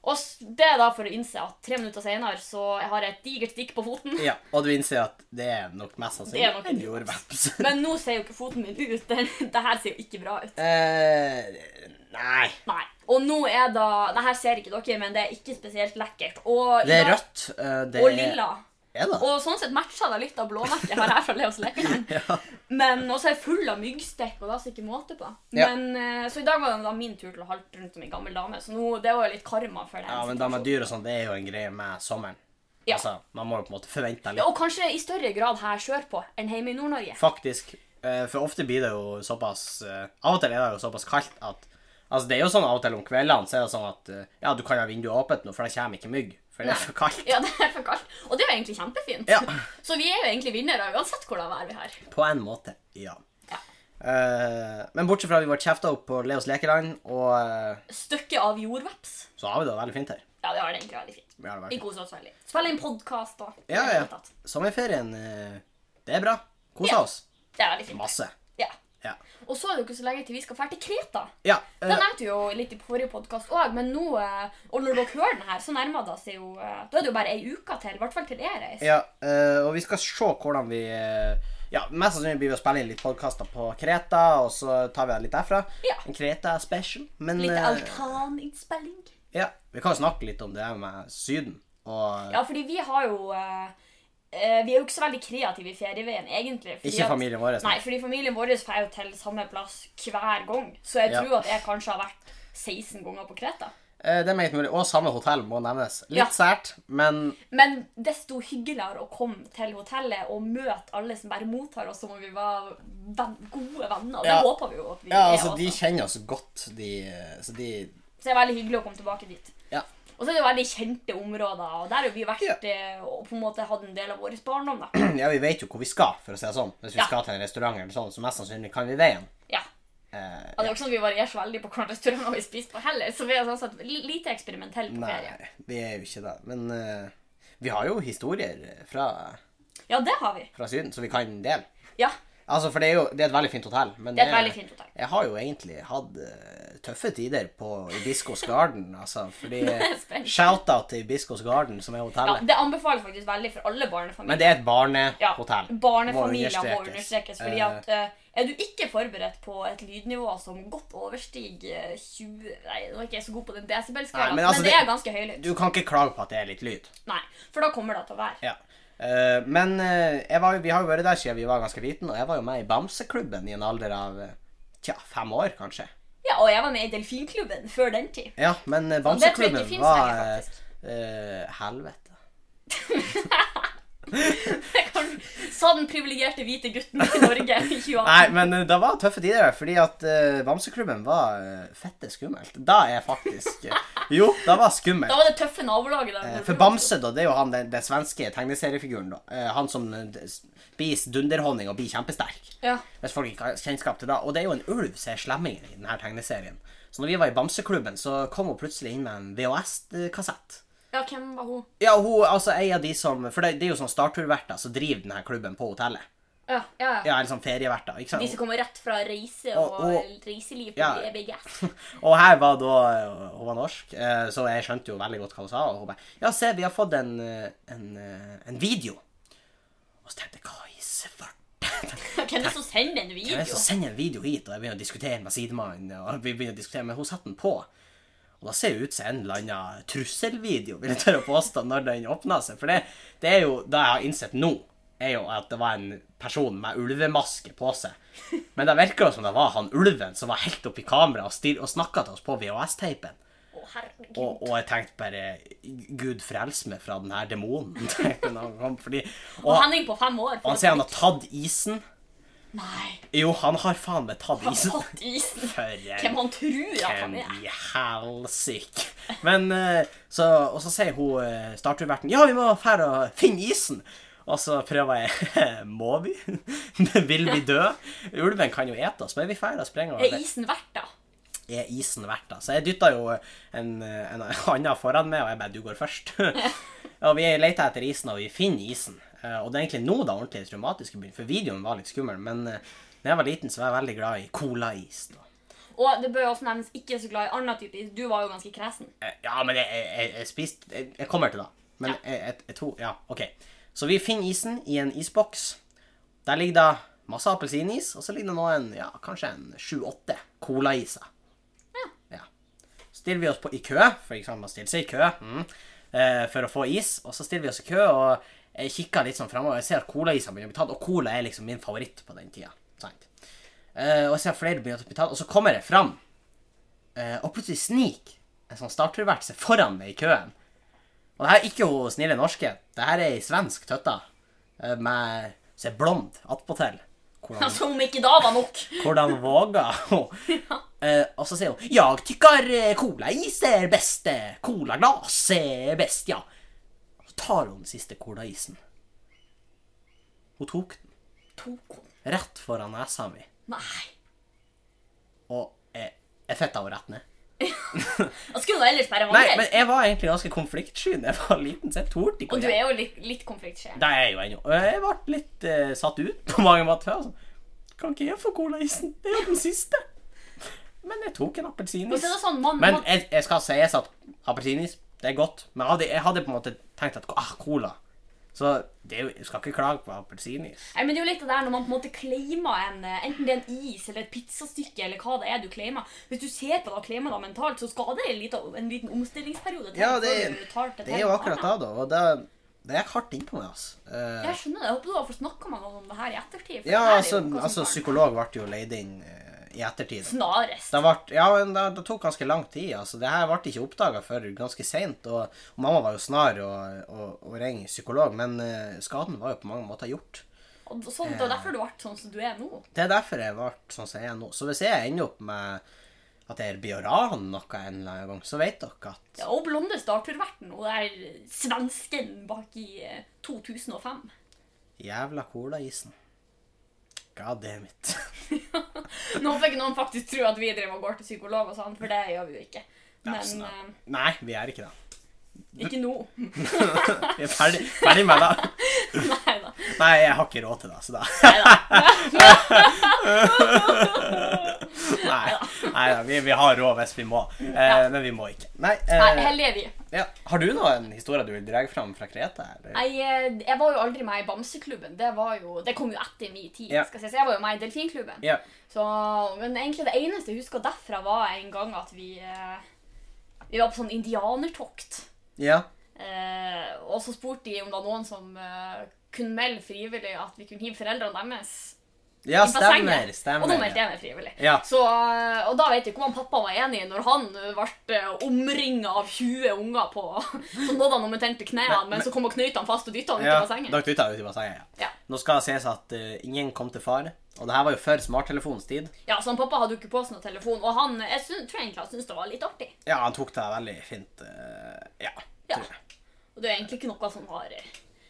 Speaker 1: Og s- det er da for å innse at tre minutter senere så har jeg et digert stikk på foten.
Speaker 2: ja. Og du innser at det er nok mest
Speaker 1: Det er nok
Speaker 2: sannsynlig en jordveps.
Speaker 1: Men nå ser jo ikke foten min ut. Det, det her ser jo ikke bra ut.
Speaker 2: Eh, nei.
Speaker 1: Nei. Og nå er da Det her ser ikke dere, men det er ikke spesielt lekkert. Og, i
Speaker 2: Det er
Speaker 1: dag-
Speaker 2: rødt. eh, det
Speaker 1: og lilla.
Speaker 2: Er det?
Speaker 1: Og sånn sett matcher det litt av blåmerket jeg har her fra Leos Lekeland.
Speaker 2: Ja.
Speaker 1: Men også er jeg full av myggstikk, og det er så ikke måte på.
Speaker 2: Ja.
Speaker 1: Men, eh, så i dag var det da min tur til å halte rundt som en gammel dame, så nå, det var jo litt karma for den
Speaker 2: ja, men da med dyr og sånn, det er jo en greie med sommeren.
Speaker 1: Ja.
Speaker 2: Altså, man må jo på en måte forvente
Speaker 1: Ja,
Speaker 2: litt,
Speaker 1: og kanskje i større grad her sørpå enn hjemme i Nord-Norge.
Speaker 2: faktisk. eh, For ofte blir det jo såpass eh, Av og til er det jo såpass kaldt at Altså, det er jo sånn av og til om kveldene så er det sånn at eh, Ja, du kan ha vinduet åpent nå, for det kommer ikke mygg. For det
Speaker 1: Nei.
Speaker 2: er for kaldt.
Speaker 1: Ja, det er for kaldt. Og det er jo egentlig kjempefint.
Speaker 2: Ja.
Speaker 1: Så vi er jo egentlig vinnere uansett hvordan vær vi har.
Speaker 2: På en måte, ja.
Speaker 1: Ja.
Speaker 2: Eh, men bortsett fra at vi ble kjefta opp på Leos lekeland, og eh,
Speaker 1: Stykket av jordveps.
Speaker 2: så har vi det veldig fint her.
Speaker 1: Ja, det var det egentlig veldig fint.
Speaker 2: Vi har det
Speaker 1: Vi
Speaker 2: veldig fint.
Speaker 1: koser oss veldig. Spiller inn podkast og
Speaker 2: Ja,
Speaker 1: i det hele
Speaker 2: ja.
Speaker 1: tatt.
Speaker 2: Sommerferien, eh, det er bra. Kosa
Speaker 1: Ja.
Speaker 2: oss
Speaker 1: Det er veldig fint.
Speaker 2: masse.
Speaker 1: Ja.
Speaker 2: Ja.
Speaker 1: Og så er det jo ikke så lenge til vi skal dra til Kreta.
Speaker 2: ja
Speaker 1: Det
Speaker 2: eh,
Speaker 1: nevnte vi jo litt i forrige podkast òg, men nå eh, Og når dere hører den her, så nærmer det seg jo eh, Da er det jo bare ei uke til, i hvert fall til jeg reiser.
Speaker 2: Ja, eh, og vi skal se hvordan vi eh, Ja, Mest sannsynlig blir vi å spille inn litt podkaster på Kreta, og så tar vi det litt derfra.
Speaker 1: Ja.
Speaker 2: En Kreta special. Men
Speaker 1: Litt
Speaker 2: eh,
Speaker 1: altaninnspilling.
Speaker 2: ja, vi kan jo snakke litt om det her med Syden. Og
Speaker 1: Ja, fordi vi har jo eh, eh, Vi er jo ikke så veldig kreative i ferieveien, egentlig. fordi
Speaker 2: ikke familien vår. altså.
Speaker 1: At, nei, fordi familien vår drar jo til samme plass hver gang, så jeg
Speaker 2: Ja.
Speaker 1: tror at jeg kanskje har vært 16 ganger på Kreta.
Speaker 2: Eh, det er meget mulig. Og samme hotell må nevnes. Litt
Speaker 1: Ja.
Speaker 2: sært, men
Speaker 1: Men desto hyggeligere å komme til hotellet og møte alle som bare mottar oss som om vi var ven gode venner. og Det
Speaker 2: Ja.
Speaker 1: håper vi jo at vi
Speaker 2: ja,
Speaker 1: er.
Speaker 2: altså, de
Speaker 1: også.
Speaker 2: kjenner oss godt, de eh, Så de
Speaker 1: Så det er veldig hyggelig å komme tilbake dit.
Speaker 2: Ja.
Speaker 1: Og så er det jo veldig kjente områder, og der har jo vi vært
Speaker 2: Ja.
Speaker 1: eh, og på en måte hatt en del av vår barndom. da.
Speaker 2: Ja, vi vet jo hvor vi skal, for å si det sånn. Hvis vi
Speaker 1: Ja.
Speaker 2: skal til en restaurant, eller sånn, så mest sannsynlig kan vi veien.
Speaker 1: Ja.
Speaker 2: Eh,
Speaker 1: Og det er jo ikke sånn at vi varierer så veldig på hvilken restaurant vi spiser på heller, så vi er sånn sett li- lite eksperimentelle på
Speaker 2: nei,
Speaker 1: ferie.
Speaker 2: vi er jo ikke det. Men eh, vi har jo historier fra
Speaker 1: Ja, det har vi.
Speaker 2: fra Syden, så vi kan dele.
Speaker 1: Ja,
Speaker 2: Altså, for det er jo det er et veldig fint hotell. Men
Speaker 1: Det er et
Speaker 2: jeg-
Speaker 1: veldig fint hotell.
Speaker 2: Jeg har jo egentlig hatt eh, tøffe tider på Ibiscos Garden, altså. Fordi
Speaker 1: spennende.
Speaker 2: Shout-out til Ibiscos Garden, som er
Speaker 1: ja
Speaker 2: hotellet.
Speaker 1: Det anbefales faktisk veldig for alle barnefamilier.
Speaker 2: Men det er et barnehotell.
Speaker 1: Ja, barnefamilier må
Speaker 2: understrekes.
Speaker 1: understrekes. fordi at eh, Er du ikke forberedt på et lydnivå som godt overstiger 20 Nei, nå er ikke jeg så god på den
Speaker 2: Nei,
Speaker 1: desibelskalaen,
Speaker 2: men
Speaker 1: men,
Speaker 2: altså,
Speaker 1: det
Speaker 2: det-
Speaker 1: er ganske høylytt.
Speaker 2: Du kan ikke klage på at det er litt lyd.
Speaker 1: Nei, for da kommer det til å være.
Speaker 2: Ja. Eh, men eh, jeg var, jo- vi har jo vært der siden vi var ganske liten, og jeg var jo med i Bamseklubben i en alder av eh, tja, fem år, kanskje.
Speaker 1: Ja, og jeg var med i Delfinklubben før den tid.
Speaker 2: Ja, men eh,
Speaker 1: tror jeg ikke
Speaker 2: Bamseklubben
Speaker 1: finnes
Speaker 2: var
Speaker 1: lenger,
Speaker 2: eh,
Speaker 1: faktisk.
Speaker 2: eh, Helvete.
Speaker 1: Jeg kan, sa den privilegerte hvite gutten i Norge i 2018.
Speaker 2: Nei, men eh, det var tøffe tider, fordi at eh, Bamseklubben var eh, fette skummelt. Da er faktisk eh, Jo, det var skummelt.
Speaker 1: Da var det tøffe nabolaget der.
Speaker 2: Eh, For Bamse, da, det er jo han den, den svenske tegneseriefiguren, da. Eh, Han som eh, d- spiser dunderhonning og blir kjempesterk.
Speaker 1: Ja.
Speaker 2: Hvis folk ikke har kjennskap til det. Og det er jo en ulv som er slemmingen i denne tegneserien. Så når vi var i Bamseklubben, så kom hun plutselig inn med en VHS-kassett.
Speaker 1: Ja, hvem var hun?
Speaker 2: Ja, hun, altså en av de som For det, det er jo sånn startturverter som driver denne klubben på hotellet.
Speaker 1: Ja, ja, ja.
Speaker 2: Ja, eller sånn ferieverter,
Speaker 1: De
Speaker 2: ikke sant?
Speaker 1: som kommer rett fra reise
Speaker 2: Og-
Speaker 1: og, eh,
Speaker 2: og-
Speaker 1: reiseliv på E
Speaker 2: Ja.
Speaker 1: BGS.
Speaker 2: Og her var da Hun var norsk, eh, så jeg skjønte jo veldig godt hva hun sa. Og hun bare Ja, se, vi har fått en, eh, en, eh, en video. Og så tenkte jeg Hva i svarte
Speaker 1: Hvem er det som sender en
Speaker 2: Jeg
Speaker 1: video?
Speaker 2: så sender jeg en video hit, og jeg begynner å diskutere med sidemannen. Og vi begynner å diskutere, Men hun satte den på. Og da ser det ut som en eller annen trusselvideo, vil jeg tørre å påstå, når den åpna seg. For det, det er jo det jeg har innsett nå, er jo at det var en person med ulvemaske på seg. Men det virker jo som det var han ulven som var helt oppi kameraet og, stil- og snakka til oss på VHS-teipen.
Speaker 1: Å, herregud.
Speaker 2: Og, og jeg tenkte bare Gud frels meg fra den her demonen. tenkte jeg når han kom, Fordi,
Speaker 1: Og
Speaker 2: og,
Speaker 1: Henning på fem år.
Speaker 2: og han sier han har tatt isen.
Speaker 1: Nei,
Speaker 2: Jo, han har faen meg tatt
Speaker 1: han
Speaker 2: isen.
Speaker 1: har tatt isen.
Speaker 2: For en
Speaker 1: Hvem han tror at han
Speaker 2: Hvem
Speaker 1: er.
Speaker 2: i helsike? Men eh, så, Og så sier hun eh, startturverten Ja, vi må fære og finne isen. Og så prøver jeg Må vi? Vil vi dø? Ulven kan jo ete oss, men vi fære og sprenger.
Speaker 1: Er
Speaker 2: over.
Speaker 1: isen verdt det?
Speaker 2: Er isen verdt det? Så jeg dytta jo en, en annen foran meg, og jeg bare Du går først. og vi leter etter isen, og vi finner isen. Eh, Og det er egentlig nå det ordentlig traumatiske begynner, for videoen var litt skummel. Men eh, da jeg var liten, så var jeg veldig glad i colais. da.
Speaker 1: Og det bør jo også nevnes ikke så glad i annen type is. Du var jo ganske kresen.
Speaker 2: Eh, Ja, men jeg, jeg, jeg, jeg spiste jeg, jeg kommer til det. Men jeg, jeg, jeg tror Ja, OK. Så vi finner isen i en isboks. Der ligger det masse appelsinis, og så ligger det nå en, ja, kanskje en sju-åtte colaiser. Ja. Stiller vi oss på, i kø, for eksempel man stiller seg i kø mm, eh, for å få is, og så stiller vi oss i kø, og jeg kikker litt sånn fremover, jeg ser at colaisene begynner å bli tatt, og cola er liksom min favoritt på den tida. Sant? Eh, og jeg ser flere begynner å bli tatt, og så kommer jeg fram, eh, og plutselig snik en sånn startervert seg foran meg i køen. Og det her er ikke hun snille norske, det her er ei svensk tøtta, eh, med, som er blond attpåtil. Hvordan
Speaker 1: Altså, om ikke da var nok.
Speaker 2: hvordan våger hun? Eh, og så sier hun 'Jeg tykker eh, colais er best. eh, Colaglass er best, ja'. Så tar hun den siste colaisen. Hun tok den
Speaker 1: Tok hun?
Speaker 2: rett foran nesa mi,
Speaker 1: Nei.
Speaker 2: og jeg, jeg fetta henne rett ned.
Speaker 1: Da skulle du ellers bare
Speaker 2: Nei,
Speaker 1: vandre.
Speaker 2: men jeg var egentlig ganske konfliktsky da jeg var liten, så jeg torde ikke
Speaker 1: Og du
Speaker 2: gjøre
Speaker 1: er jo litt, litt konfliktsjef.
Speaker 2: Det er jeg jo ennå. Og Jeg ble litt eh, satt ut på mange måter. Altså. Kan ikke jeg få colaisen? Det er jo den siste. Men jeg tok en
Speaker 1: Og så
Speaker 2: appelsinis.
Speaker 1: er det sånn, man,
Speaker 2: Men
Speaker 1: man,
Speaker 2: jeg, jeg skal sies at appelsinis, det er godt. Men jeg hadde, jeg hadde på en måte tenkt at ah, cola. Så det er jo, jeg skal ikke klage på appelsinis.
Speaker 1: nei, men det er jo litt av det her når man på en måte claimer en eh, Enten det er en is eller et pizzastykke eller hva det er du claimer. Hvis du ser på det og claimer det mentalt, så skal det en liten, en liten omstillingsperiode til.
Speaker 2: Ja, det-
Speaker 1: før du tar til
Speaker 2: Det er jo
Speaker 1: noe
Speaker 2: akkurat
Speaker 1: annet.
Speaker 2: da, da. Og det, det gikk hardt innpå meg, altså. Eh,
Speaker 1: Jeg skjønner det. Jeg håper du har fått snakka med noen om det her i ettertid. for det
Speaker 2: ja,
Speaker 1: her er jo
Speaker 2: altså,
Speaker 1: noe som
Speaker 2: altså
Speaker 1: kan-
Speaker 2: psykolog ble jo leid inn eh, i ettertid.
Speaker 1: Snarest.
Speaker 2: Det, ble, ja, men det, det tok ganske lang tid. altså. Det her ble ikke oppdaga før ganske seint. Og, og mamma var jo snar og, og, og ringe psykolog, men eh, skaden var jo på mange måter gjort.
Speaker 1: Og sånn, det er derfor du ble sånn som du er nå.
Speaker 2: Det er derfor jeg ble sånn som jeg er nå. Så hvis jeg ender opp med at jeg blir å rane noe en eller annen gang, så vet dere at
Speaker 1: Ja, og blonde starterverten, og det er svensken bak i eh, 2005.
Speaker 2: Jævla colaisen. God damn it.
Speaker 1: Nå håper jeg ikke noen faktisk tror at vi driver og går til psykolog og sånn, for det gjør vi jo ikke.
Speaker 2: Ja,
Speaker 1: Men
Speaker 2: snakk. Nei, vi er ikke det.
Speaker 1: eh, ikke nå.
Speaker 2: Vi er ferdig, ferdig med det.
Speaker 1: Nei da.
Speaker 2: Nei, jeg har ikke råd til det, så da Nei, nei da, vi, vi har råd hvis vi må, eh, men vi må ikke. Nei, eh,
Speaker 1: Heldige er vi.
Speaker 2: ja. Har du noen historier du vil dra fram fra Kreta? Eller?
Speaker 1: Nei, eh, jeg var jo aldri med i Bamseklubben. Det, var jo, det kom jo etter min tid.
Speaker 2: Ja.
Speaker 1: skal jeg si. Så jeg var jo med i Delfinklubben.
Speaker 2: Ja.
Speaker 1: Så, men egentlig det eneste jeg husker derfra, var en gang at vi, eh, vi var på sånn indianertokt.
Speaker 2: ja.
Speaker 1: Eh, og så spurte de om det var noen som eh, kunne melde frivillig at vi kunne hive foreldrene deres
Speaker 2: Ja,
Speaker 1: i
Speaker 2: stemmer.
Speaker 1: bassenget. Og da
Speaker 2: stemmer.
Speaker 1: meldte jeg meg frivillig.
Speaker 2: Ja.
Speaker 1: Så, eh, og da vet jeg ikke om han pappa var enig når han eh, ble omringa av 20 unger på Så nådde han omtrent til knærne, men så kom og knøyte han fast og dytta han ut
Speaker 2: Ja,
Speaker 1: i bassenget.
Speaker 2: dere dytta ut i bassenget, ja.
Speaker 1: Ja.
Speaker 2: Nå skal det sies at eh, ingen kom til fare. Og det her var jo før smarttelefonens tid.
Speaker 1: ja, så han pappa hadde jo ikke på seg noen telefon, og han eh, jeg syn- tror egentlig han syntes det var litt artig.
Speaker 2: Ja, han tok det veldig fint. eh, ja.
Speaker 1: Ja.
Speaker 2: tror jeg.
Speaker 1: Og det er egentlig ikke noe som har eh,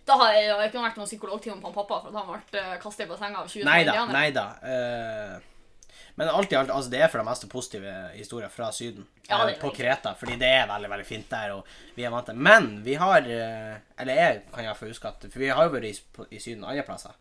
Speaker 1: Da har jeg jo ikke vært eh, noen psykologtime på han pappa for at han ble kastet i bassenget av 20
Speaker 2: Nei da,
Speaker 1: indianere.
Speaker 2: nei da. eh, Men alt i alt, altså det er for det meste positive historier fra Syden.
Speaker 1: Ja,
Speaker 2: eh,
Speaker 1: det er
Speaker 2: på
Speaker 1: det.
Speaker 2: Kreta, fordi det er veldig veldig fint der, og vi er vant til Men vi har eh, Eller jeg kan iallfall huske at For vi har jo vært i, på- i Syden andre plasser.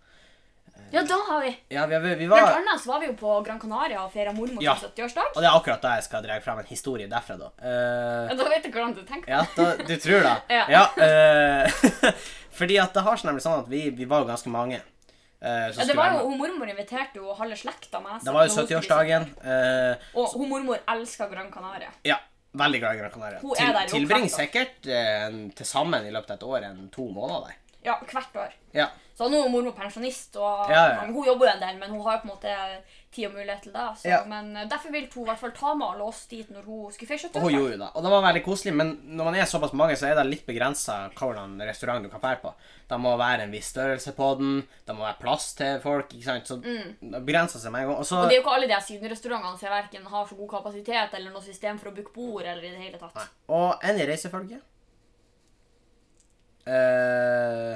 Speaker 1: Ja, da har vi.
Speaker 2: Ja, vi, vi, vi
Speaker 1: Blant
Speaker 2: var
Speaker 1: annet så var vi jo på Gran Canaria og feira mormors
Speaker 2: Ja.
Speaker 1: 70-årsdag.
Speaker 2: Og det er akkurat da jeg skal dra frem en historie derfra, da. Eh,
Speaker 1: Ja, Da vet jeg hvordan du tenker.
Speaker 2: Ja, da, du tror det?
Speaker 1: Ja.
Speaker 2: eh, fordi at det har seg nemlig sånn at vi, vi var jo ganske mange. eh, som
Speaker 1: Ja, det
Speaker 2: skulle
Speaker 1: var
Speaker 2: være
Speaker 1: jo, hun
Speaker 2: med.
Speaker 1: Mormor inviterte jo halve slekta med liksom. seg.
Speaker 2: det var
Speaker 1: når
Speaker 2: jo
Speaker 1: hun skulle
Speaker 2: 70-årsdagen. eh,
Speaker 1: vise- Og hun mormor elsker Gran Canaria.
Speaker 2: ja, veldig glad i Gran Canaria.
Speaker 1: Hun er der i
Speaker 2: tilbringer
Speaker 1: oppvekst, da.
Speaker 2: sikkert eh, en- til sammen i løpet av et år en to måneder der.
Speaker 1: Ja, hvert år.
Speaker 2: Ja.
Speaker 1: Så nå er jo mormor pensjonist, og
Speaker 2: Ja, ja.
Speaker 1: hun jobber jo en del, men hun har jo på en måte tid og mulighet til det. Så,
Speaker 2: Ja.
Speaker 1: Men eh, derfor ville hun i hvert fall ta med alle oss dit når hun skulle feire
Speaker 2: Og hun
Speaker 1: 70-årsdag.
Speaker 2: gjorde jo det. Og det var veldig koselig, men når man er såpass mange, så er det litt begrensa hvilken restaurant du kan dra på. Det må være en viss størrelse på den, det må være plass til folk, ikke sant. Så
Speaker 1: Mm.
Speaker 2: det begrenser seg med en gang. Og så
Speaker 1: Og det er jo ikke alle de sydenrestaurantene som verken har så god kapasitet eller noe system for å booke bord eller i det hele tatt.
Speaker 2: Og en i reisefølget. Eh,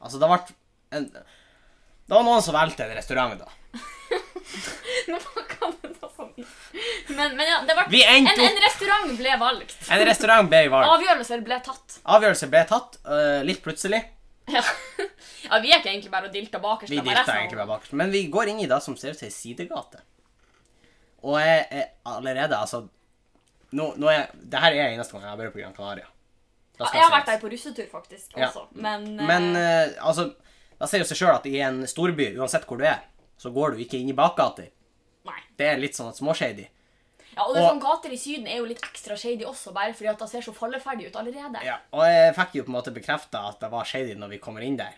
Speaker 2: altså, det ble en Det var noen som valgte en restaurant, da.
Speaker 1: Nå kan du ta sånn ut. Men, men ja, det ble
Speaker 2: Vi
Speaker 1: en,
Speaker 2: endte
Speaker 1: en
Speaker 2: opp
Speaker 1: restaurant ble valgt.
Speaker 2: En restaurant ble valgt.
Speaker 1: Avgjørelser ble tatt.
Speaker 2: Avgjørelse ble tatt eh, litt plutselig.
Speaker 1: Ja. ja, vi gikk egentlig bare og dilta bakerst.
Speaker 2: Vi
Speaker 1: da, med
Speaker 2: dilta
Speaker 1: resten av
Speaker 2: egentlig bare bakerst. Men vi går inn i det som ser ut som ei sidegate. Og jeg er allerede, altså nå, nå er, Det her er eneste gang jeg har vært på Gran Canaria. Da
Speaker 1: Ja,
Speaker 2: skal
Speaker 1: jeg har
Speaker 2: sies.
Speaker 1: vært der på russetur, faktisk.
Speaker 2: Ja.
Speaker 1: også. Men, eh,
Speaker 2: Men eh, altså, da sier jo seg sjøl at i en storby, uansett hvor du er, så går du ikke inn i bakgater.
Speaker 1: nei.
Speaker 2: Det er litt sånn at småshady.
Speaker 1: Ja, og det er
Speaker 2: og-
Speaker 1: sånn Gater i Syden er jo litt ekstra shady også, bare fordi at det ser så falleferdig ut allerede.
Speaker 2: Ja, og jeg fikk jo på en måte bekrefta at det var shady når vi kommer inn der.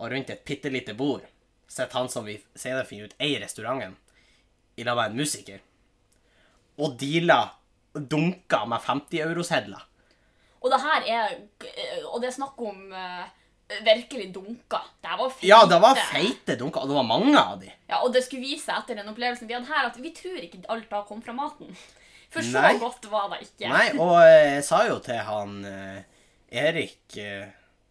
Speaker 2: Og rundt et bitte lite bord sitter han som vi senere finner ut eier restauranten, i lag med en musiker, og dealer dunker med 50-eurosedler.
Speaker 1: Og det her er Og det er snakk om eh, virkelig dunka. Det her var feite.
Speaker 2: Ja, det var feite dunker, og det var mange av de.
Speaker 1: Ja, og det skulle vise seg etter den opplevelsen vi hadde her, at vi tror ikke alt da kom fra maten. For så
Speaker 2: Nei.
Speaker 1: godt var det ikke.
Speaker 2: Nei, og eh, jeg sa jo til han eh, Erik eh,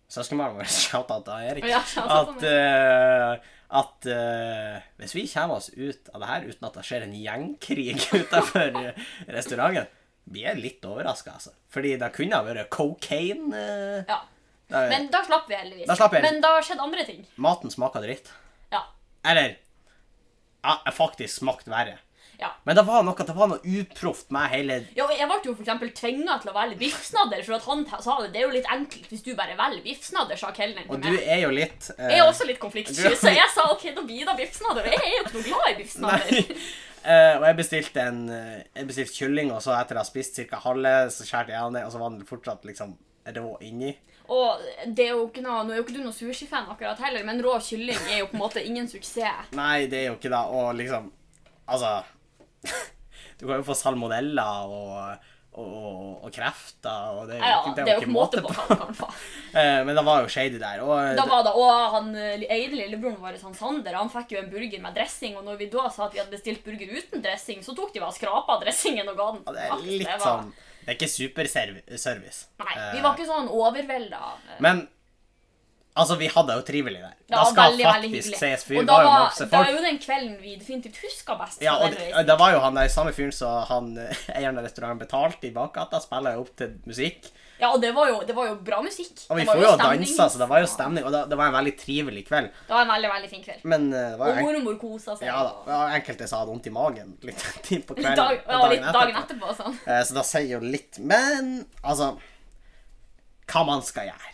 Speaker 2: Søskenbarnet vårt, shoutout til Erik,
Speaker 1: Ja, shoutout
Speaker 2: at, eh, at eh, hvis vi kommer oss ut av det her uten at det skjer en gjengkrig utenfor eh, restauranten, blir jeg litt overraska, altså. Fordi det kunne ha vært cocaine. eh,
Speaker 1: Ja.
Speaker 2: det-
Speaker 1: Men da slapp vi heldigvis.
Speaker 2: Da slapp vi heldigvis.
Speaker 1: Men da skjedde andre ting.
Speaker 2: Maten smaka dritt.
Speaker 1: Ja.
Speaker 2: Eller ja, jeg faktisk smakte verre.
Speaker 1: ja.
Speaker 2: Men det var noe, det var noe uproft med hele
Speaker 1: Ja, og jeg ble jo for eksempel tvinga til å velge biffsnadder, for at han ta- sa det. Det er jo litt enkelt hvis du bare velger biffsnadder, sa kelneren
Speaker 2: Og
Speaker 1: til
Speaker 2: du
Speaker 1: meg.
Speaker 2: er jo litt eh,
Speaker 1: Jeg er også litt konfliktsky,
Speaker 2: Du-
Speaker 1: så jeg sa OK, da blir det biffsnadder. Og jeg er jo ikke noe glad i biffsnadder.
Speaker 2: Nei. Eh, og jeg bestilte en eh, Jeg bestilte kylling, og så etter jeg hadde spist ca. halve, så skjærte jeg den ned, og så var den fortsatt liksom rå inni.
Speaker 1: Og det er jo ikke noe, nå er jo ikke du noen sushifan akkurat heller, men rå kylling er jo på en måte ingen suksess.
Speaker 2: Nei, det er jo ikke det. Og liksom Altså Du kan jo få salmonella og, og, og, og krefter, og det er jo
Speaker 1: Ja,
Speaker 2: ikke,
Speaker 1: det er jo ikke måte på hva det kan få.
Speaker 2: Eh, men det var jo shady der. Og eh,
Speaker 1: Da var det, og han eh, Eide, lillebroren vår, han Sander, han fikk jo en burger med dressing, og når vi da sa at vi hadde bestilt burger uten dressing, så tok de bare og skrapa dressingen og ga den.
Speaker 2: det
Speaker 1: tilbake.
Speaker 2: er litt
Speaker 1: var-
Speaker 2: sånn eh, Det er ikke superservice.
Speaker 1: Nei, vi var ikke sånn overvelda.
Speaker 2: Men altså, vi hadde det jo trivelig der.
Speaker 1: Det
Speaker 2: da
Speaker 1: var
Speaker 2: skal
Speaker 1: veldig, veldig
Speaker 2: faktisk
Speaker 1: hyggelig.
Speaker 2: sies, for
Speaker 1: og
Speaker 2: vi
Speaker 1: da
Speaker 2: var jo
Speaker 1: var,
Speaker 2: masse
Speaker 1: da
Speaker 2: folk.
Speaker 1: er jo den kvelden vi definitivt husker best.
Speaker 2: Ja,
Speaker 1: fra
Speaker 2: og
Speaker 1: den
Speaker 2: det,
Speaker 1: reisen.
Speaker 2: det var jo han der samme fyren som han eh, eieren av restauranten betalte i bakgata, spiller jo opp til musikk.
Speaker 1: ja, og det var jo, det var jo bra musikk.
Speaker 2: Og vi
Speaker 1: Det var
Speaker 2: får jo altså,
Speaker 1: stemning.
Speaker 2: dansa, så det var jo stemning, og det, det var en veldig trivelig kveld.
Speaker 1: Det var en veldig, veldig fin kveld.
Speaker 2: Men eh, det var
Speaker 1: Og
Speaker 2: jo en,
Speaker 1: mormor kosa seg.
Speaker 2: ja da, det var enkelte som hadde vondt i magen litt tid på kvelden.
Speaker 1: Dag, ja,
Speaker 2: og
Speaker 1: litt dagen etterpå og sånn.
Speaker 2: Eh, Så det sier jo litt. Men altså Hva man skal gjøre.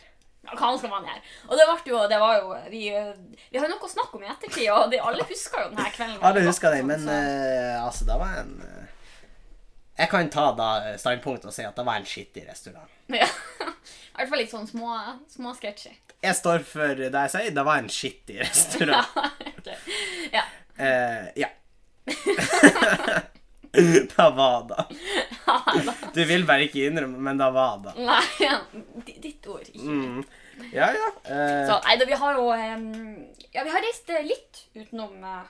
Speaker 1: Ja, Hva skal man gjøre? Og det ble jo, det var jo vi, eh, vi har jo noe å snakke om i ettertid, og det, alle husker jo denne kvelden.
Speaker 2: Alle
Speaker 1: veldig
Speaker 2: husker
Speaker 1: godt,
Speaker 2: det, men
Speaker 1: sånn, så-
Speaker 2: eh, altså, det var en eh, Jeg kan ta da eh, standpunktet og si at det var en skittig restaurant.
Speaker 1: Ja. I hvert fall litt sånn små, små sketsjer.
Speaker 2: Jeg står for det jeg sier, det var en skittig
Speaker 1: Ja,
Speaker 2: restaurant.
Speaker 1: ok. ja.
Speaker 2: Eh, ja. det var da. Du vil bare ikke innrømme, men det var da.
Speaker 1: Nei, di- ditt ord. Ikke.
Speaker 2: Mm. Ja, ja. Eh,
Speaker 1: Så, nei, da, vi har jo em, Ja, vi har reist eh, litt utenom, eh,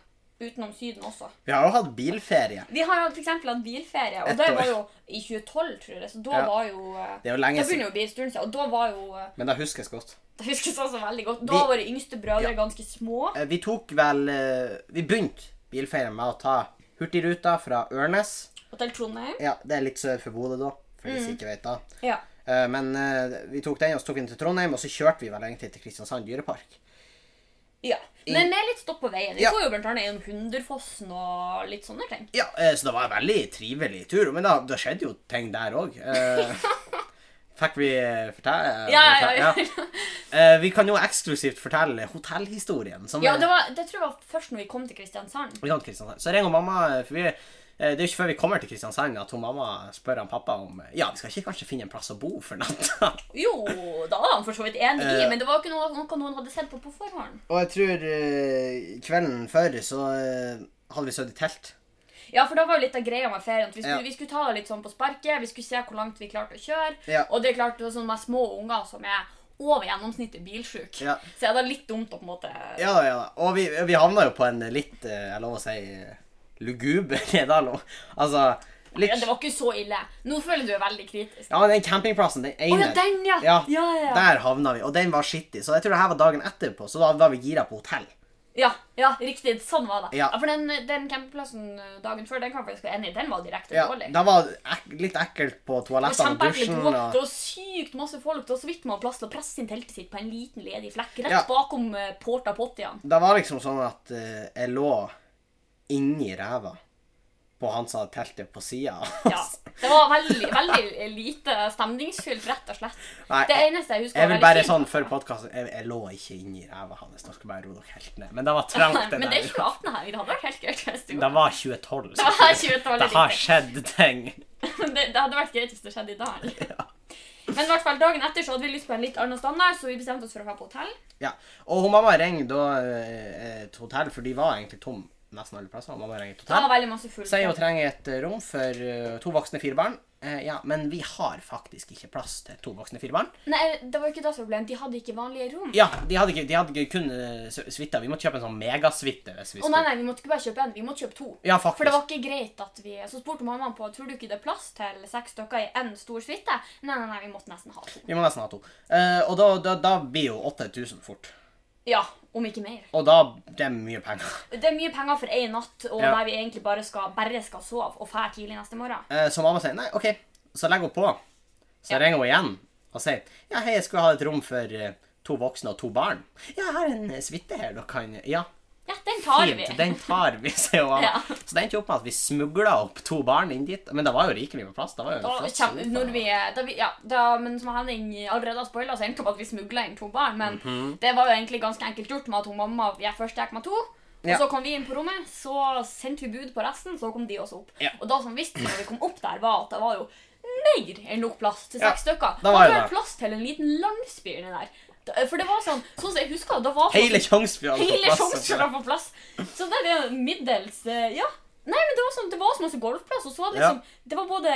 Speaker 1: utenom Syden også.
Speaker 2: vi har jo hatt bilferie.
Speaker 1: Vi har jo for eksempel hatt bilferie, og
Speaker 2: Et
Speaker 1: det
Speaker 2: år.
Speaker 1: var jo i 2012, tror jeg. Så da
Speaker 2: Ja.
Speaker 1: var jo eh,
Speaker 2: Det er jo lenge
Speaker 1: Da begynner
Speaker 2: siden.
Speaker 1: jo å bli en stund siden, og da var jo eh,
Speaker 2: Men det huskes godt.
Speaker 1: Det huskes også veldig godt. Da
Speaker 2: Vi-
Speaker 1: var våre yngste brødre
Speaker 2: Ja.
Speaker 1: ganske små.
Speaker 2: Eh, vi tok vel eh, Vi begynte bilferien med å ta Hurtigruta fra Ørnes.
Speaker 1: Hotell Trondheim.
Speaker 2: Ja, det er litt sør for Bodø, da. For de som ikke vet da.
Speaker 1: Ja.
Speaker 2: Eh, Men eh, vi tok den, og så tok vi den til Trondheim, og så kjørte vi vel egentlig til Kristiansand dyrepark.
Speaker 1: ja. Men med litt stopp på veien. Vi
Speaker 2: Ja.
Speaker 1: så jo blant annet gjennom Hunderfossen og litt sånne ting.
Speaker 2: Ja, eh, så det var en veldig trivelig tur. Men da, da skjedde jo ting der òg. Fikk vi eh, fortelle? eh,
Speaker 1: Ja, ja, ja.
Speaker 2: fortelle- Eh, Vi kan jo eksklusivt fortelle hotellhistorien. Som
Speaker 1: Ja,
Speaker 2: er-
Speaker 1: det, var, det tror jeg var først når vi kom til Kristiansand.
Speaker 2: Vi kan til Kristiansand. Så ringer mamma, eh, for vi, eh, det er jo ikke før vi kommer til Kristiansand at hun mamma spør han pappa om eh, Ja, vi skal ikke kanskje finne en plass å bo for natta?
Speaker 1: Jo, da var han for så vidt enig i,
Speaker 2: Eh.
Speaker 1: men det var ikke noe, noe noen hadde sett på på forhånd.
Speaker 2: Og jeg tror eh, kvelden før så eh, hadde vi sovet i telt.
Speaker 1: Ja, for da var jo litt av greia med ferien. at Vi skulle,
Speaker 2: Ja.
Speaker 1: vi skulle ta det litt sånn på sparket, vi skulle se hvor langt vi klarte å kjøre.
Speaker 2: Ja.
Speaker 1: Og det er klart, det var sånn med små unger som er over gjennomsnittet bilsjuk,
Speaker 2: Ja.
Speaker 1: så er det litt dumt å på en måte
Speaker 2: Ja da, ja da. Og vi, vi havna jo på en litt, eh, jeg lov å si, eh, luguber Redal. og- Altså litt
Speaker 1: Ja, Det var ikke så ille. Nå føler jeg du er veldig kritisk.
Speaker 2: Ja, men den campingplassen, den
Speaker 1: Å
Speaker 2: ene
Speaker 1: ja, den, ja!
Speaker 2: Ja,
Speaker 1: ja, ja.
Speaker 2: Der havna vi, og den var skittig. Så jeg tror det her var dagen etterpå, så da var vi gira på hotell.
Speaker 1: Ja, ja, riktig. Sånn var det.
Speaker 2: Ja.
Speaker 1: Ja, For den, den campingplassen eh, dagen før, den kan jeg faktisk være enig i, den var direkte
Speaker 2: Ja,
Speaker 1: dårlig.
Speaker 2: Da var det ek litt ekkelt på
Speaker 1: Det var
Speaker 2: toalettene og
Speaker 1: kjempeekkelt.
Speaker 2: dusjen.
Speaker 1: Det var-
Speaker 2: Og...
Speaker 1: det var sykt masse folk. Det var så vidt man hadde plass til å presse inn teltet sitt på en liten, ledig flekk rett
Speaker 2: Ja.
Speaker 1: bakom eh, porta pottiene.
Speaker 2: Det var liksom sånn at eh, jeg lå inni ræva på han som hadde teltet på sida.
Speaker 1: Ja. Det var veldig, veldig lite stemningsfylt, rett og slett.
Speaker 2: Nei,
Speaker 1: Det eneste jeg husker
Speaker 2: Jeg
Speaker 1: var
Speaker 2: vil
Speaker 1: veldig
Speaker 2: bare
Speaker 1: fint.
Speaker 2: sånn før podkasten jeg, jeg lå ikke inni ræva hans. Dere skal bare roe dere helt ned. Men det var trangt, det
Speaker 1: Men det er
Speaker 2: der.
Speaker 1: 2018 her. Det hadde vært helt greit. hvis Det,
Speaker 2: Det var 2012.
Speaker 1: Det var 2012,
Speaker 2: det har
Speaker 1: riktig.
Speaker 2: skjedd ting.
Speaker 1: var- det, det hadde vært greit hvis det skjedde i dag. Men i hvert fall dagen etter så hadde vi lyst på en litt annen standard, så vi bestemte oss for å dra på hotell.
Speaker 2: Ja. Og hun mamma ringer da eh, et hotell, for de var egentlig tom nesten alle plasser. Hun Mamma ringer et
Speaker 1: Det var
Speaker 2: hotell.
Speaker 1: veldig masse fullt.
Speaker 2: Sier hun trenger et eh, rom for eh, to voksne fire barn. Eh, ja, men vi har faktisk ikke plass til to voksne fire barn.
Speaker 1: Nei, det var ikke det som var problemet. De hadde ikke vanlige rom.
Speaker 2: Ja, de hadde, ikke, de hadde ikke kun eh, su- suita. Vi måtte kjøpe en sånn megasuite. hvis
Speaker 1: Å
Speaker 2: vi
Speaker 1: nei,
Speaker 2: skulle-
Speaker 1: nei, vi måtte ikke bare kjøpe en, vi måtte kjøpe to.
Speaker 2: Ja, faktisk.
Speaker 1: For det var ikke greit at vi Så spurte mammaen på Tror du ikke det er plass til seks stykker i én stor suite. Nei, nei, nei, vi måtte nesten ha to.
Speaker 2: Vi må nesten ha to. Eh, og da, da, da blir jo 8000 fort.
Speaker 1: Ja, om ikke mer.
Speaker 2: Og da Det er mye penger.
Speaker 1: Det er mye penger for én natt, og
Speaker 2: Ja.
Speaker 1: der vi egentlig bare skal, bare skal sove og dra tidlig neste morgen.
Speaker 2: Eh, så mamma sier nei, OK. Så legger hun på. Så
Speaker 1: Ja.
Speaker 2: ringer hun igjen og sier ja, hei, jeg skulle ha et rom for eh, to voksne og to barn. Ja, jeg har en eh, suite her dere kan Ja,
Speaker 1: Ja, den tar vi.
Speaker 2: fint, den tar vi, sier hun.
Speaker 1: Ja.
Speaker 2: Så det endte jo opp med at vi smugla opp to barn inn dit. Men det var jo rikelig med plass. Det var jo en
Speaker 1: Da,
Speaker 2: flott
Speaker 1: kjem,
Speaker 2: sofa.
Speaker 1: når vi, da vi, ja, da, men som Henning allerede har spoila, så endte det opp at vi smugla inn to barn. Men
Speaker 2: Mhm.
Speaker 1: det var jo egentlig ganske enkelt gjort med at hun mamma jeg først gikk med to. Og
Speaker 2: Ja.
Speaker 1: Så kom vi inn på rommet, så sendte vi bud på resten, så kom de også opp.
Speaker 2: Ja.
Speaker 1: Og da som visste når vi kom opp der, var at det var jo mer enn nok plass til
Speaker 2: Ja,
Speaker 1: seks stykker.
Speaker 2: da var
Speaker 1: det
Speaker 2: det
Speaker 1: var
Speaker 2: det.
Speaker 1: plass til en liten landsby inni der. Da- For det var sånn, sånn som jeg husker det, da var sånn-
Speaker 2: Hele Tjongsfjord hadde fått
Speaker 1: Hele
Speaker 2: plass. altså.
Speaker 1: Sjongsfjord var på plass. Så det er det middels eh, Ja. Nei, men det var, sånn, det var så masse golfplass, og så var det liksom Det var både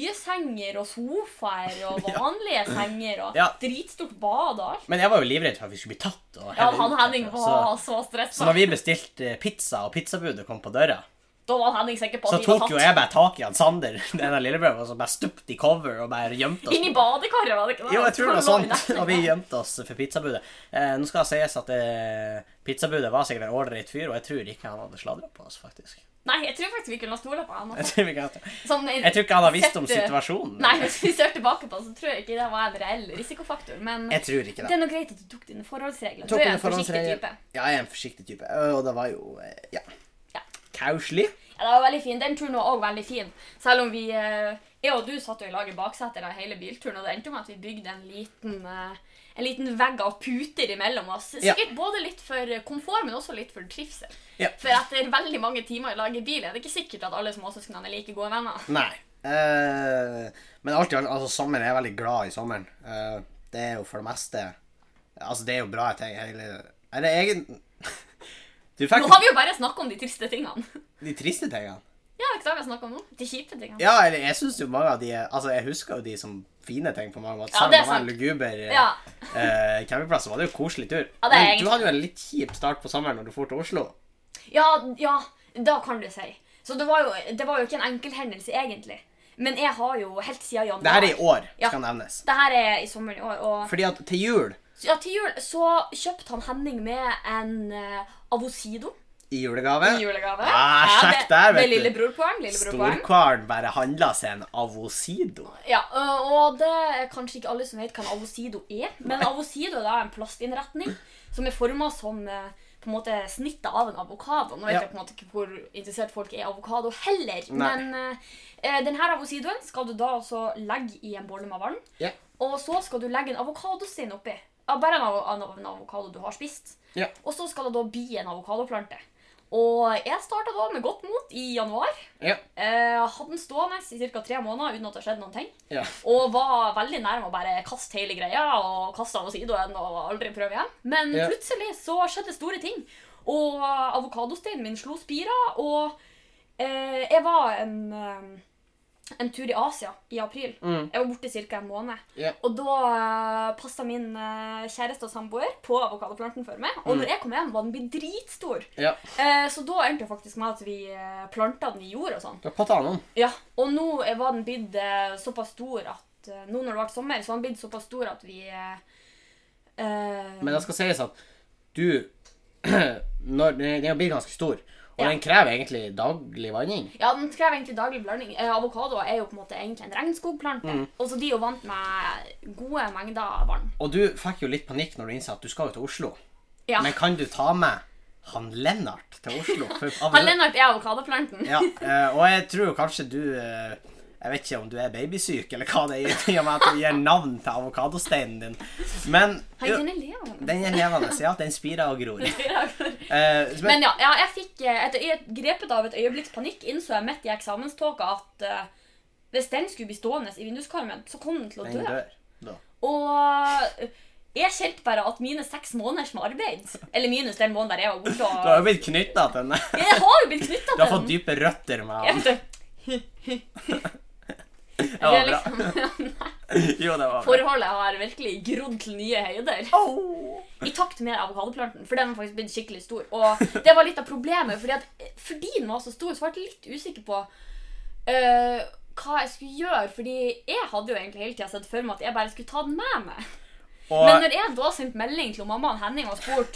Speaker 1: køyesenger og sofaer og vanlige senger og
Speaker 2: Ja.
Speaker 1: dritstort bad og alt.
Speaker 2: Men jeg var jo livredd for at vi skulle bli tatt. Og
Speaker 1: Ja,
Speaker 2: hele
Speaker 1: han
Speaker 2: ut
Speaker 1: Henning
Speaker 2: herfra,
Speaker 1: var
Speaker 2: så,
Speaker 1: så stressa.
Speaker 2: altså. så når vi bestilte eh, pizza, og pizzabudet kom på døra
Speaker 1: Da var Henning sikker på
Speaker 2: Så
Speaker 1: at vi var
Speaker 2: tok jo
Speaker 1: tatt.
Speaker 2: jeg bare tak i han Sander, denne lillebroren, og så bare stupte i cover og bare gjemte oss.
Speaker 1: Inn i badekaret, var det ikke det?
Speaker 2: altså. Jo, jeg tror det var
Speaker 1: Så lå vi
Speaker 2: sånt,
Speaker 1: der.
Speaker 2: og vi gjemte oss for pizzabudet. Eh, nå skal det sies at eh, pizzabudet var sikkert en ålreit fyr, og jeg tror ikke han hadde sladra på oss, faktisk.
Speaker 1: Nei, jeg tror faktisk vi kunne ha stola på han.
Speaker 2: Jeg
Speaker 1: Altså.
Speaker 2: tror ikke, han-
Speaker 1: Sånn,
Speaker 2: jeg tror ikke han har visst om
Speaker 1: sett, eh,
Speaker 2: situasjonen.
Speaker 1: Nei, hvis vi ser tilbake på det, så tror jeg ikke det var en reell risikofaktor. Men
Speaker 2: Jeg tror ikke
Speaker 1: det
Speaker 2: det.
Speaker 1: er nå greit at du tok dine forholdsregler. Du
Speaker 2: Tok
Speaker 1: er
Speaker 2: under
Speaker 1: en forsiktig
Speaker 2: forhåndsregel.
Speaker 1: type.
Speaker 2: Ja, jeg er en forsiktig type. Ø, Og det var jo eh, ja.
Speaker 1: Ja.
Speaker 2: Kauslig.
Speaker 1: Ja, det var veldig fin. Den turen var òg veldig fin. Selv om vi eh, Jeg og du satt jo i lag i baksetet da hele bilturen, og det endte jo med at vi bygde en liten eh, en liten vegg av puter imellom oss.
Speaker 2: Ja.
Speaker 1: Sikkert både litt for komfort, men også litt for trivsel.
Speaker 2: Ja.
Speaker 1: For etter veldig mange timer i lag i bil er det ikke sikkert at alle som også skulle ha like gode venner.
Speaker 2: Nei. Eh, men alt i alt, altså, sommeren jeg er veldig glad i sommeren. Eh, det er jo for det meste Altså, det er jo bra ting. Hele Er det egen Du fikk
Speaker 1: Nå har vi jo bare snakka om de triste tingene.
Speaker 2: de triste tingene.
Speaker 1: Ja, ikke sant, vi har snakket om nå? De kjipe tingene.
Speaker 2: Ja, eller jeg syns jo mange av de Altså, jeg husker jo de som fine ting på mange måter.
Speaker 1: Ja,
Speaker 2: Selv om
Speaker 1: det er
Speaker 2: det var en
Speaker 1: sant.
Speaker 2: luguber eh,
Speaker 1: Ja.
Speaker 2: eh, campingplass, så var det jo en koselig tur.
Speaker 1: Ja, det er
Speaker 2: Men
Speaker 1: egentlig-
Speaker 2: du hadde jo en litt kjip start på sommeren når du dro til Oslo.
Speaker 1: Ja, ja, da kan du si. Så det var jo, det var jo ikke en enkelthendelse, egentlig. Men jeg har jo helt siden januar
Speaker 2: Det her er i år,
Speaker 1: Ja.
Speaker 2: skal nevnes.
Speaker 1: Det her er i sommeren i år, og
Speaker 2: Fordi at til jul
Speaker 1: ja, til jul så kjøpte han Henning med en eh, avocado.
Speaker 2: i julegave.
Speaker 1: I julegave.
Speaker 2: Ja, Ah, sjekk der,
Speaker 1: det
Speaker 2: vet
Speaker 1: er
Speaker 2: du.
Speaker 1: lillebrorpoeng. Lillebrorpoeng.
Speaker 2: Storkvaren bare handla seg en avosido.
Speaker 1: Ja, ø, og det er kanskje ikke alle som vet hva en avosido er, men avosido er da en plastinnretning som er forma som ø, på en måte snittet av en avokado. Nå vet
Speaker 2: Ja.
Speaker 1: jeg på en måte ikke hvor interessert folk er i avokado heller,
Speaker 2: Nei.
Speaker 1: men uh, denne avosidoen skal du da også legge i en bolle med vann,
Speaker 2: Ja.
Speaker 1: og så skal du legge en avokadostinn oppi. Ja, bare en, av, en, av- en avokado du har spist.
Speaker 2: Ja.
Speaker 1: Og så skal det da bli en avokadoplante. Og jeg starta da med godt mot i januar.
Speaker 2: Ja.
Speaker 1: Eh, hadde den stående i ca. tre måneder uten at det skjedde noen ting.
Speaker 2: ja.
Speaker 1: Og var veldig nær med å bare kaste hele greia og kaste av oss idoen og aldri prøve igjen. Men
Speaker 2: Ja.
Speaker 1: plutselig så skjedde store ting. Og avokadosteinen min slo spirer, og eh, jeg var en, eh, en tur i Asia i april.
Speaker 2: Mm.
Speaker 1: Jeg var borte ca. en måned.
Speaker 2: Ja.
Speaker 1: Og da eh, passa min eh, kjæreste og samboer på avokadoplanten for meg. Og
Speaker 2: Mm.
Speaker 1: når jeg kom hjem, var den blitt dritstor.
Speaker 2: ja.
Speaker 1: Eh, så da endte det faktisk med at vi eh, planta den i jord og sånn.
Speaker 2: Du har potta noen.
Speaker 1: Ja, og nå er- var den blitt eh, såpass stor at eh, Nå når det ble sommer, så har den blitt såpass stor at vi eh, eh,
Speaker 2: Men det skal sies at du når, Den blir ganske stor, og
Speaker 1: Ja.
Speaker 2: den krever egentlig daglig vanning.
Speaker 1: Ja, den krever egentlig daglig blanding. Eh, Avokadoer er jo på en måte egentlig en regnskogplante.
Speaker 2: Mm.
Speaker 1: Og så de er jo vant med gode mengder vann.
Speaker 2: Og du fikk jo litt panikk når du innså at du skal jo til Oslo.
Speaker 1: Ja.
Speaker 2: Men kan du ta med han Lennart til Oslo? For,
Speaker 1: Han Lennart er avokadoplanten.
Speaker 2: Ja, eh, og jeg tror kanskje du eh, Jeg vet ikke om du er babysyk, eller hva det er, i og med at du gir navn til avokadosteinen din. Men
Speaker 1: Han
Speaker 2: jo,
Speaker 1: kan elevene.
Speaker 2: den er levende. Ja, den spirer og gror.
Speaker 1: Men
Speaker 2: Eh, men,
Speaker 1: ja, ja, jeg fikk eh, etter jeg grepet av et øyeblikks panikk, innså jeg midt i eksamenståka at eh, hvis den skulle bli stående i vinduskarmen, så kom den til å
Speaker 2: den
Speaker 1: dø.
Speaker 2: dør. Da.
Speaker 1: Og jeg kjente bare at mine seks måneders med arbeid Eller minus den måneden der jeg var borte
Speaker 2: Du har
Speaker 1: og
Speaker 2: jo blitt knytta til den.
Speaker 1: Jeg har jo blitt knytta
Speaker 2: Du har
Speaker 1: til
Speaker 2: fått dype røtter med
Speaker 1: Jeg
Speaker 2: han.
Speaker 1: vet det.
Speaker 2: Det var bra.
Speaker 1: liksom,
Speaker 2: Jo, det var bra.
Speaker 1: forholdet har virkelig grodd til nye høyder.
Speaker 2: Au!
Speaker 1: I takt med avokadoplanten, for den var faktisk blitt skikkelig stor. Og det var litt av problemet, fordi, at, eh, fordi den var så stor, så var jeg litt usikker på eh, hva jeg skulle gjøre. Fordi jeg hadde jo egentlig hele tida sett for meg at jeg bare skulle ta den med meg. Men
Speaker 2: Og
Speaker 1: når jeg da sendte melding til mamma og Henning og spurt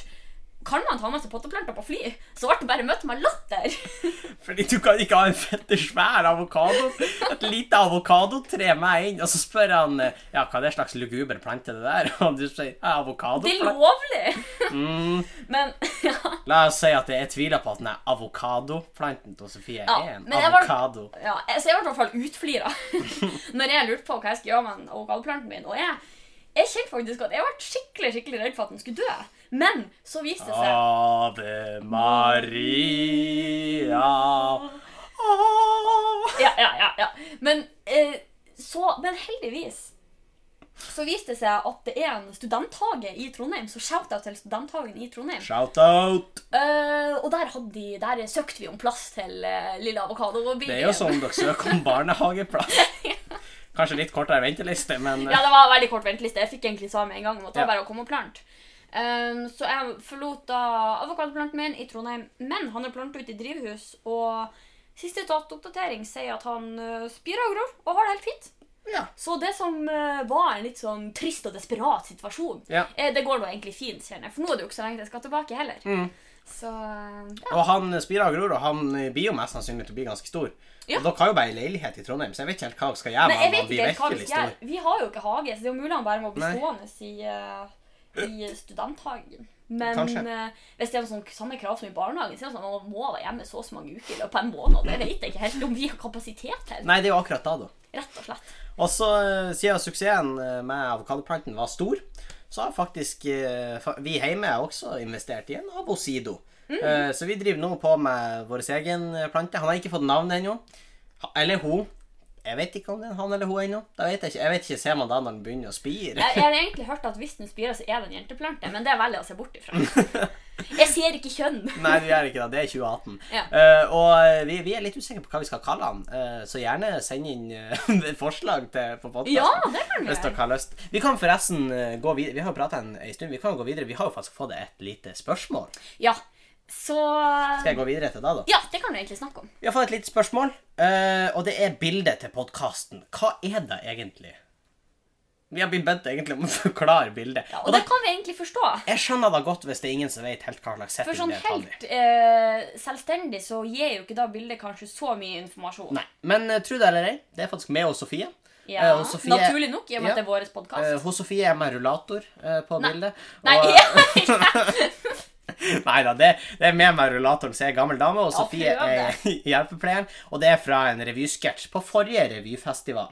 Speaker 1: kan man ta med seg potteplanter på fly, så ble det bare møtt med latter.
Speaker 2: fordi du kan ikke ha en fette svær avokado, et lite avokadotre med inn, og så spør han eh, ja, hva er det slags luguber plante det der, og du sier ja,
Speaker 1: Det er
Speaker 2: avokadoplante.
Speaker 1: lovlig! Men, ja,
Speaker 2: La oss si at jeg tviler på at den er avokadoplanten til Sofie
Speaker 1: Ja,
Speaker 2: er en
Speaker 1: men jeg var-
Speaker 2: avokado.
Speaker 1: ja, så jeg ble i hvert fall utflira når jeg lurte på hva jeg skulle gjøre med den avokadoplanten min. Og jeg, jeg kjente faktisk at jeg ble skikkelig skikkelig redd for at den skulle dø. Men så viste det
Speaker 2: Ah.
Speaker 1: seg
Speaker 2: Ave Maria Åh.
Speaker 1: Ja, ja, ja. ja. Men, eh, så, men heldigvis så viste det seg at det er en studenthage i Trondheim, så shout-out til studenthagen i Trondheim.
Speaker 2: Shout-out!
Speaker 1: Eh, og der, hadde de, der søkte vi om plass til eh, lille avokado. og vi-
Speaker 2: Det er jo sånn dere søker om barnehageplass. Kanskje litt kortere venteliste, men
Speaker 1: Ja, det var veldig kort venteliste. Jeg fikk egentlig svar med en gang. Måtte
Speaker 2: Ja.
Speaker 1: bare å komme og plante. Eh, så jeg forlot da avokadoplanten min i Trondheim, men han er plantet ut i drivhus. Og siste datoppdatering sier at han eh, spirer og gror og har det helt fint.
Speaker 2: ja.
Speaker 1: Så det som eh, var en litt sånn trist og desperat situasjon,
Speaker 2: Ja.
Speaker 1: eh, det går nå egentlig fint, kjenner jeg. For nå er det jo ikke så lenge til jeg skal tilbake heller.
Speaker 2: Mm.
Speaker 1: Så eh,
Speaker 2: Og han spirer og gror, og han blir jo mest sannsynlig til å bli ganske stor.
Speaker 1: Ja.
Speaker 2: Og dere har jo bare ei leilighet i Trondheim, så jeg vet ikke helt hva dere skal gjøre
Speaker 1: Nei,
Speaker 2: med
Speaker 1: jeg
Speaker 2: han. Han
Speaker 1: vet
Speaker 2: blir
Speaker 1: ikke helt hva vi
Speaker 2: virkelig
Speaker 1: skal
Speaker 2: stor.
Speaker 1: gjøre. Vi har jo ikke hage, så det er jo mulig han bare må bli
Speaker 2: Nei.
Speaker 1: stående i, eh, i studenthagen. Men
Speaker 2: Kanskje.
Speaker 1: eh, hvis det er sånn samme krav som i barnehagen, så er det sånn at man må være hjemme så og så mange uker i løpet av en måned. Det vet jeg ikke helt om vi har kapasitet til.
Speaker 2: Nei, det er jo akkurat da, da.
Speaker 1: Rett og slett.
Speaker 2: Og så eh, siden suksessen eh, med avokadoplanten var stor, så har faktisk eh, fa- vi hjemme også investert i en avosido.
Speaker 1: Mm.
Speaker 2: Eh, Så vi driver nå på med vår egen eh, plante. Han har ikke fått navn ennå. Ha- Eller hun. Jeg vet ikke om det er han eller hun ennå. Det vet jeg ikke. Jeg vet ikke, Ser man da når den begynner å spire?
Speaker 1: Jeg, jeg har egentlig hørt at hvis den spirer, så er det en jenteplante, men det velger jeg å se bort ifra. Jeg ser ikke kjønn.
Speaker 2: Nei, vi gjør ikke det. Det er 2018.
Speaker 1: Ja.
Speaker 2: Eh, og eh, vi, vi er litt usikre på hva vi skal kalle han, eh, så gjerne send inn eh, forslag til, på podkasten.
Speaker 1: Ja, det kan vi
Speaker 2: Hvis dere
Speaker 1: gjøre.
Speaker 2: har lyst. Vi kan forresten eh, gå videre. Vi har jo prata en, en stund. Vi kan jo gå videre. Vi har jo faktisk fått et lite spørsmål.
Speaker 1: Ja, så
Speaker 2: Skal jeg gå videre til deg, da?
Speaker 1: Ja, det kan vi egentlig snakke om.
Speaker 2: Vi har fått et lite spørsmål, eh, og det er bildet til podkasten. Hva er det egentlig? Vi har blitt bedt egentlig om å forklare bildet.
Speaker 1: Ja,
Speaker 2: og
Speaker 1: og det
Speaker 2: det,
Speaker 1: kan vi egentlig forstå.
Speaker 2: jeg skjønner det godt hvis det er ingen som vet helt hva slags
Speaker 1: For
Speaker 2: setting
Speaker 1: sånn
Speaker 2: det er tall i.
Speaker 1: helt eh, selvstendig så gir jo ikke da bildet kanskje så mye informasjon.
Speaker 2: Nei, men eh, tro det eller ei, det er faktisk meg og Sofie.
Speaker 1: Ja,
Speaker 2: Eh, og Sofie-
Speaker 1: Naturlig nok, i og med
Speaker 2: Ja.
Speaker 1: at det er vår podkast.
Speaker 2: Eh, hos Sofie er jeg med rullator eh, på bildet.
Speaker 1: Nei,
Speaker 2: og- eh,
Speaker 1: ja,
Speaker 2: Nei da, det, det er med meg rullatoren som er gammel dame, og
Speaker 1: Ja,
Speaker 2: Sofie
Speaker 1: prøv
Speaker 2: er hjelpepleieren. Og det er fra en revysketsj på forrige revyfestival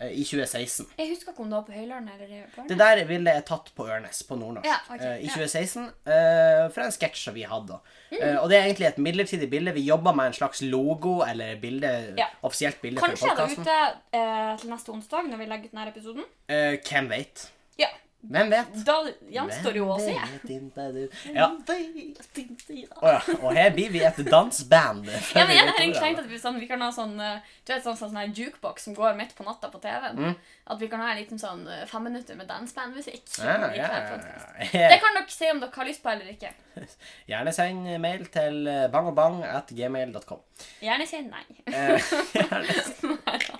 Speaker 2: eh, i 2016.
Speaker 1: jeg husker ikke om det var på Høylandet eller på
Speaker 2: Det der bildet er tatt på Ørnes, på nordnorsk,
Speaker 1: Ja, ok,
Speaker 2: eh, i
Speaker 1: ja.
Speaker 2: 2016. eh, fra en sketsj som vi hadde. da.
Speaker 1: Mm.
Speaker 2: Eh, og det er egentlig et midlertidig bilde. Vi jobber med en slags logo eller bilde,
Speaker 1: Ja.
Speaker 2: offisielt bilde
Speaker 1: Kanskje
Speaker 2: for
Speaker 1: er det
Speaker 2: podkasten.
Speaker 1: ute eh, til neste onsdag, når vi legger ut denne episoden.
Speaker 2: Eh, hvem veit?
Speaker 1: Ja,
Speaker 2: Hvem vet?
Speaker 1: Da gjenstår jo å se.
Speaker 2: Hvem vet ikke du? Ja.
Speaker 1: Ja,
Speaker 2: Å ja. Og her blir vi et dansband. før
Speaker 1: men
Speaker 2: vi
Speaker 1: jeg
Speaker 2: vet
Speaker 1: har egentlig
Speaker 2: ordet av
Speaker 1: tenkt
Speaker 2: det.
Speaker 1: at vi, sånn, vi kan ha sånn eh, Du vet sånn, sånn, her jukebox som går midt på natta på TV-en.
Speaker 2: Mm.
Speaker 1: At vi kan ha en liten sånn eh, fem minutter med dansebandmusikk.
Speaker 2: Ja,
Speaker 1: i
Speaker 2: ja,
Speaker 1: hver
Speaker 2: ja,
Speaker 1: podcast.
Speaker 2: ja.
Speaker 1: Det kan dere se om dere har lyst på eller ikke.
Speaker 2: Gjerne send mail til bangogbang.gmail.com.
Speaker 1: Gjerne si nei.
Speaker 2: Eh, gjerne.
Speaker 1: Neida.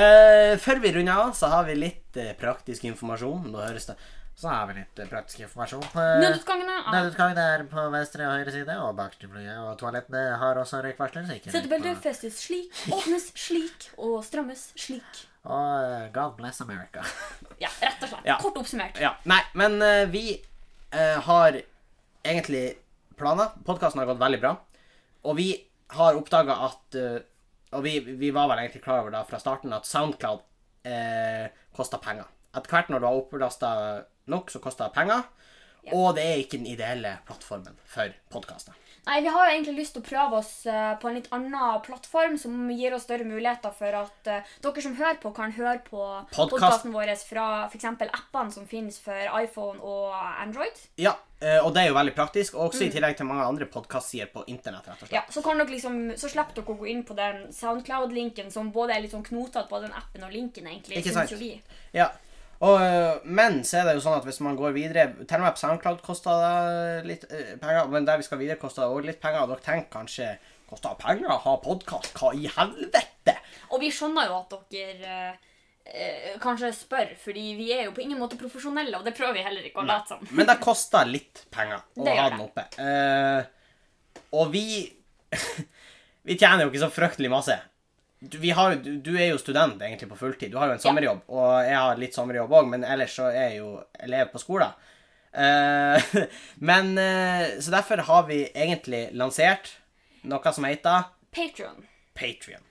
Speaker 2: eh, før vi runder av, så har vi litt eh, praktisk informasjon. Nå høres det Så har vi litt eh, praktisk informasjon. Eh,
Speaker 1: Nødutgangene av
Speaker 2: Nødutgangen er på venstre og høyre side, og bakerste fløye. Og toalettene har også røykvarsler. så ikke røyk
Speaker 1: Settebeltet
Speaker 2: på-
Speaker 1: festes slik, åpnes slik og strammes slik.
Speaker 2: Og eh, God bless America.
Speaker 1: Ja, rett og slett.
Speaker 2: Ja.
Speaker 1: Kort oppsummert.
Speaker 2: ja, nei, men eh, vi eh, har egentlig planer. Podkasten har gått veldig bra. Og vi har oppdaga at eh, Og vi, vi var vel egentlig klar over da fra starten at SoundCloud uh, kosta penger. Etter hvert når du har opplasta nok, så koster det penger. Og det er ikke den ideelle plattformen for podkaster.
Speaker 1: Nei, vi har jo egentlig lyst til å prøve oss eh, på en litt annen plattform som gir oss større muligheter for at eh, dere som hører på, kan høre på
Speaker 2: Podcast.
Speaker 1: podkasten vår fra f.eks. appene som finnes for iPhone og Android.
Speaker 2: Ja, eh, og det er jo veldig praktisk. Og også i tillegg til mange andre podkastsider på internett. rett og slett.
Speaker 1: Ja, så kan dere liksom, så slipper dere å gå inn på den SoundCloud-linken som både er litt sånn knotete, både den appen og linken, egentlig.
Speaker 2: Ikke
Speaker 1: synes
Speaker 2: sant?
Speaker 1: jo vi.
Speaker 2: Ja. Og, øh, men så er det jo sånn at hvis man går videre Til og med på SoundCloud kosta det litt øh, penger, men der vi skal videre, kosta det òg litt penger. Og dere tenker kanskje Kosta det penger å ha podkast? Hva i helvete?
Speaker 1: Og vi skjønner jo at dere eh, eh, kanskje spør, fordi vi er jo på ingen måte profesjonelle, og det prøver vi heller ikke å late som.
Speaker 2: Men det kosta litt penger å
Speaker 1: Sånn. Det gjør
Speaker 2: ha
Speaker 1: det.
Speaker 2: den oppe. Eh, og vi Vi tjener jo ikke så fryktelig masse. Du, vi har, jo- du, du er jo student egentlig på fulltid. Du har jo en sommerjobb, og jeg har litt sommerjobb òg, men ellers så er jeg jo elev på skolen. Eh, men eh, Så derfor har vi egentlig lansert noe som heter
Speaker 1: Patreon.
Speaker 2: Patrion.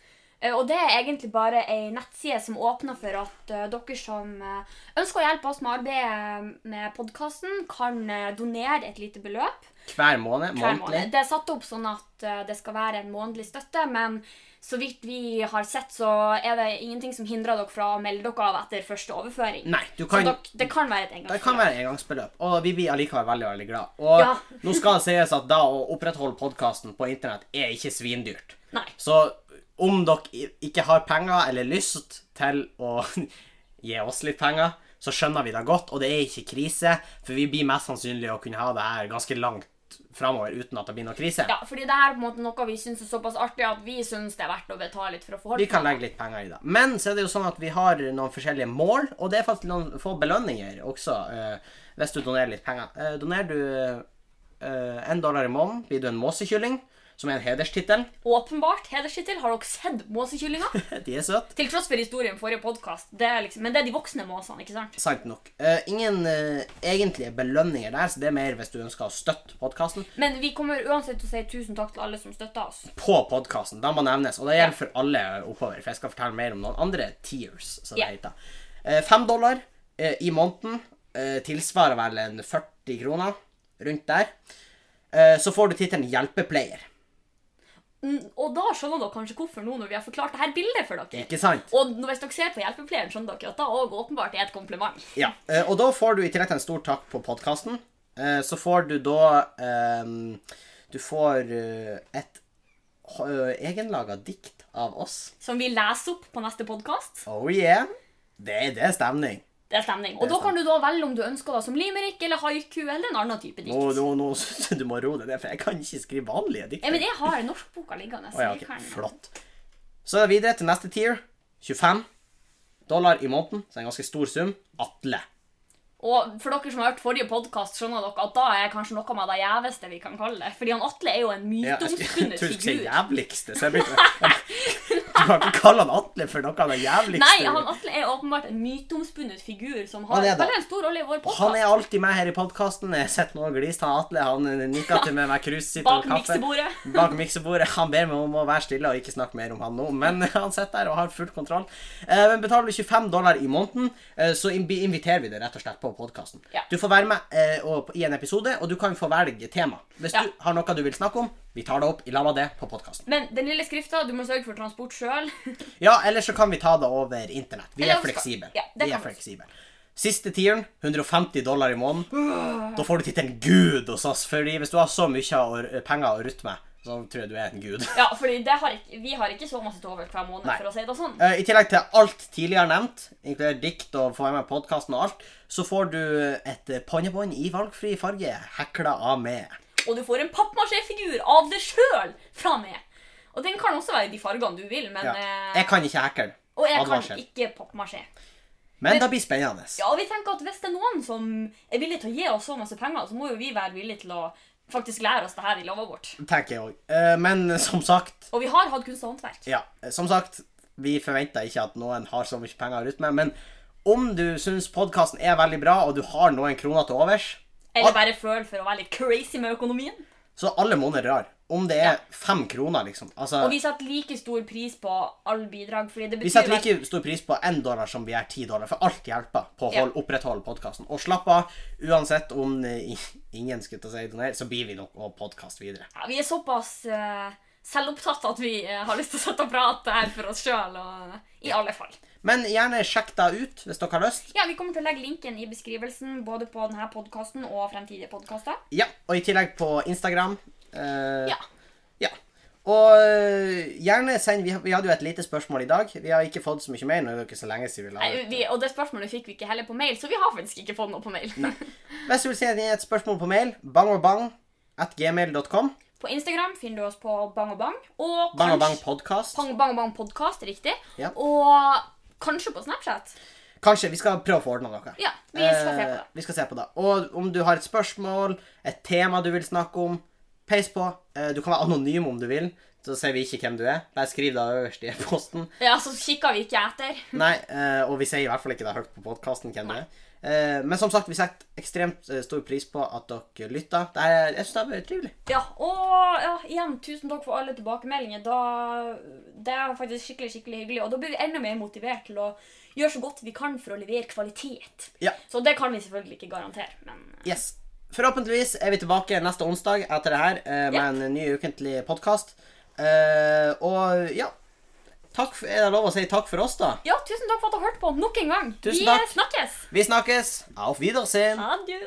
Speaker 1: Eh, Og det er egentlig bare ei nettside som åpner for at eh, dere som eh, ønsker å hjelpe oss med arbeidet eh, med podkasten, kan eh, donere et lite beløp
Speaker 2: Hver måned.
Speaker 1: hver
Speaker 2: månedlig.
Speaker 1: måned. Det er satt opp sånn at eh, det skal være en månedlig støtte, men så vidt vi har sett, så er det ingenting som hindrer dere fra å melde dere av etter første overføring.
Speaker 2: Nei, du
Speaker 1: Så
Speaker 2: kan
Speaker 1: dere, det kan være et
Speaker 2: Det kan
Speaker 1: engangsbeløp.
Speaker 2: være engangsbeløp, og vi blir allikevel veldig veldig glad. Og
Speaker 1: Ja.
Speaker 2: nå skal det sies at da å opprettholde podkasten på internett er ikke svindyrt.
Speaker 1: Nei.
Speaker 2: Så om dere i- ikke har penger eller lyst til å gi oss litt penger, så skjønner vi det godt, og det er ikke krise, for vi blir mest sannsynlig å kunne ha det her ganske langt framover uten at det blir noe krise.
Speaker 1: Ja, fordi det her er på en måte noe vi syns er såpass artig at vi syns det er verdt å betale litt for å få
Speaker 2: Vi
Speaker 1: holde på.
Speaker 2: kan legge litt penger i det. Men så er det jo sånn at vi har noen forskjellige mål, og det er faktisk noen få belønninger også, eh, hvis du donerer litt penger. Eh, donerer du eh, en dollar i måneden, blir du en måsekylling, som er en hederstittel.
Speaker 1: Åpenbart hederstittel. Har dere sett måsekyllinga?
Speaker 2: De er søte.
Speaker 1: Til tross for historien i forrige podkast. Liksom, men det er de voksne måsene, ikke sant?
Speaker 2: Sant nok. Eh, ingen eh, egentlige belønninger der, så det er mer hvis du ønsker å støtte podkasten.
Speaker 1: Men vi kommer uansett til å si tusen takk til alle som støtter oss.
Speaker 2: På podkasten, da må nevnes, og det gjelder for alle oppover, for jeg skal fortelle mer om noen andre tiers, som
Speaker 1: Ja.
Speaker 2: det heter. Eh, Fem dollar eh, i måneden eh, tilsvarer vel en 40 kroner, rundt der. Eh, Så får du tittelen hjelpepleier,
Speaker 1: Mm, Og da skjønner dere kanskje hvorfor nå når vi har forklart dette bildet for dere.
Speaker 2: ikke sant?
Speaker 1: Og når- hvis dere ser på hjelpepleieren, skjønner dere at det òg åpenbart er et kompliment.
Speaker 2: Ja, eh, og da får du i tillegg til en stor takk på podkasten. Så får du da ehm, Du får eh, et eh, egenlaga dikt av oss.
Speaker 1: Som vi leser opp på neste podkast.
Speaker 2: Oh yeah! Det, det er stemning.
Speaker 1: Det er stemning. Og
Speaker 2: Det er
Speaker 1: da kan du da velge om du ønsker det som limerick eller haiku eller en annen type
Speaker 2: Nå,
Speaker 1: dikt.
Speaker 2: nå, nå synes jeg du må roe deg ned, for jeg kan ikke skrive vanlige dikt.
Speaker 1: Ja, men jeg har norskboka liggende. så
Speaker 2: Å ja,
Speaker 1: jeg
Speaker 2: ok,
Speaker 1: kan-
Speaker 2: Flott. Så er det videre til neste tier. 25. dollar i måneden, så en ganske stor sum. Atle.
Speaker 1: Og for dere som har hørt forrige podkast, skjønner dere at da er kanskje noe av det gjeveste vi kan kalle det. Fordi han Atle er jo en
Speaker 2: Ja, jeg skulle jeg
Speaker 1: myteomspunnet
Speaker 2: tror du skulle si
Speaker 1: figur.
Speaker 2: jævligste, så jeg begynte Du kan ikke kalle han Atle for noe av det jævligste.
Speaker 1: Nei, han Atle er åpenbart en myteomspunnet figur som har
Speaker 2: Han er det.
Speaker 1: veldig en stor rolle i vår
Speaker 2: Og Han
Speaker 1: podkast.
Speaker 2: er alltid med her i podkasten. Jeg sitter nå og gliser. Han Atle han nikker til meg med krus, sitter
Speaker 1: Bak
Speaker 2: over kaffe.
Speaker 1: miksebordet.
Speaker 2: Bak miksebordet. Han ber meg om å være stille og ikke snakke mer om han nå, men han sitter der og har full kontroll. Eh, Men betaler du 25 dollar i måneden, eh, så invi- inviterer vi deg rett og slett på podkasten.
Speaker 1: Ja.
Speaker 2: Du får være med eh, og- i en episode, og du kan få velge tema. Hvis
Speaker 1: Ja.
Speaker 2: du har noe du vil snakke om, vi tar det opp i lag med det på podkasten.
Speaker 1: Men den lille skrifta, du må sørge for transport sjøl.
Speaker 2: Ja, eller så kan vi ta det over internett. Vi
Speaker 1: Eller
Speaker 2: er
Speaker 1: over Skype.
Speaker 2: fleksible.
Speaker 1: Ja, det
Speaker 2: vi er
Speaker 1: kan vi.
Speaker 2: fleksible. Siste tieren, 150 dollar i måneden. Da får du tittelen gud hos oss, fordi hvis du har så mye å, penger å rutte med, så tror jeg du er en gud.
Speaker 1: Ja, fordi det har ikke, vi har ikke så masse til over hver måned,
Speaker 2: Nei.
Speaker 1: for å si det sånn.
Speaker 2: Eh, I tillegg til alt tidligere nevnt, inkludert dikt og få være med i podkasten og alt, så får du et eh, ponnebånd i valgfri farge hekla av meg.
Speaker 1: Og du får en pappmasjéfigur av deg sjøl fra meg. Og den kan også være i de fargene du vil, men
Speaker 2: Ja.
Speaker 1: eh,
Speaker 2: Jeg kan ikke hekle.
Speaker 1: Og jeg
Speaker 2: Advarsel.
Speaker 1: kan ikke pappmasjé.
Speaker 2: Men det blir spennende.
Speaker 1: Ja, og vi tenker at hvis det er noen som er villig til å gi oss så masse penger, så må jo vi være villige til å faktisk lære oss det her i lovet vårt.
Speaker 2: Tenker jeg òg. Men som sagt,
Speaker 1: Og vi har hatt kunst og håndverk.
Speaker 2: Ja, eh, som sagt, vi forventer ikke at noen har så mye penger å rutte med, men om du syns podkasten er veldig bra, og du har noen kroner til overs,
Speaker 1: Eller
Speaker 2: al-
Speaker 1: bare føl for å være litt crazy med økonomien.
Speaker 2: så alle måneder rar. Om det er fem kroner, liksom. Altså,
Speaker 1: Og vi
Speaker 2: vi,
Speaker 1: setter like stor pris på alle bidrag, fordi det betyr
Speaker 2: setter
Speaker 1: jo at-
Speaker 2: like stor pris på én dollar som vi gjør ti dollar, for alt hjelper på å
Speaker 1: Ja.
Speaker 2: hold, opprettholde podkasten. Og slapp av, uansett om eh, i- ingen skulle til å si doner, så blir vi nok å podkaste videre.
Speaker 1: ja, Vi er såpass eh, selvopptatt at vi eh, har lyst til å sette og prate her for oss sjøl, og i alle fall.
Speaker 2: Men gjerne sjekk det ut hvis dere har lyst.
Speaker 1: Ja, Vi kommer til å legge linken i beskrivelsen både på denne podkasten og fremtidige podkaster.
Speaker 2: Ja, og i tillegg på Instagram. eh,
Speaker 1: Ja.
Speaker 2: Ja. Og øh, gjerne send vi, vi hadde jo et lite spørsmål i dag. Vi har ikke fått så mye mer nå. er Det er ikke så lenge siden vi la
Speaker 1: Nei,
Speaker 2: ut.
Speaker 1: vi, og det spørsmålet fikk vi ikke heller på mail, så vi har faktisk ikke fått noe på mail.
Speaker 2: Hvis du vil sende inn et spørsmål på mail, bangogbang at gmail.com.
Speaker 1: På Instagram finner du oss på Bang og Bang. Og
Speaker 2: Bang og bang
Speaker 1: kanskje-
Speaker 2: podcast.
Speaker 1: Bang og Bang, bang podcast, riktig.
Speaker 2: Ja.
Speaker 1: Og kanskje på Snapchat.
Speaker 2: Kanskje. Vi skal prøve å få ordna noe.
Speaker 1: Ja, vi skal se på
Speaker 2: Eh,
Speaker 1: det.
Speaker 2: vi skal se på det. Og om du har et spørsmål, et tema du vil snakke om, peis på. Eh, Du kan være anonym om du vil. Så ser vi ikke hvem du er. Bare skriv det øverst i posten.
Speaker 1: Ja, så kikker vi ikke etter.
Speaker 2: Nei, eh, og vi sier i hvert fall ikke det høyt på podkasten hvem det er. Eh, Men som sagt, vi setter ekstremt eh, stor pris på at dere lytter. Det er, jeg synes det er veldig trivelig.
Speaker 1: Ja, og ja, igjen, tusen takk for alle tilbakemeldinger. Da, det er faktisk skikkelig skikkelig hyggelig. Og da blir vi enda mer motivert til å gjøre så godt vi kan for å levere kvalitet.
Speaker 2: Ja.
Speaker 1: Så det kan vi selvfølgelig ikke garantere, men
Speaker 2: Yes. Forhåpentligvis er vi tilbake neste onsdag etter det her eh, med
Speaker 1: Ja.
Speaker 2: en ny ukentlig podkast. Og ja takk for, Er det lov å si takk for oss, da?
Speaker 1: Ja, tusen takk for at du har hørt på nok en gang.
Speaker 2: Tusen
Speaker 1: vi
Speaker 2: takk.
Speaker 1: snakkes.
Speaker 2: Vi snakkes. Auf Wiedersehen.
Speaker 1: Adjø.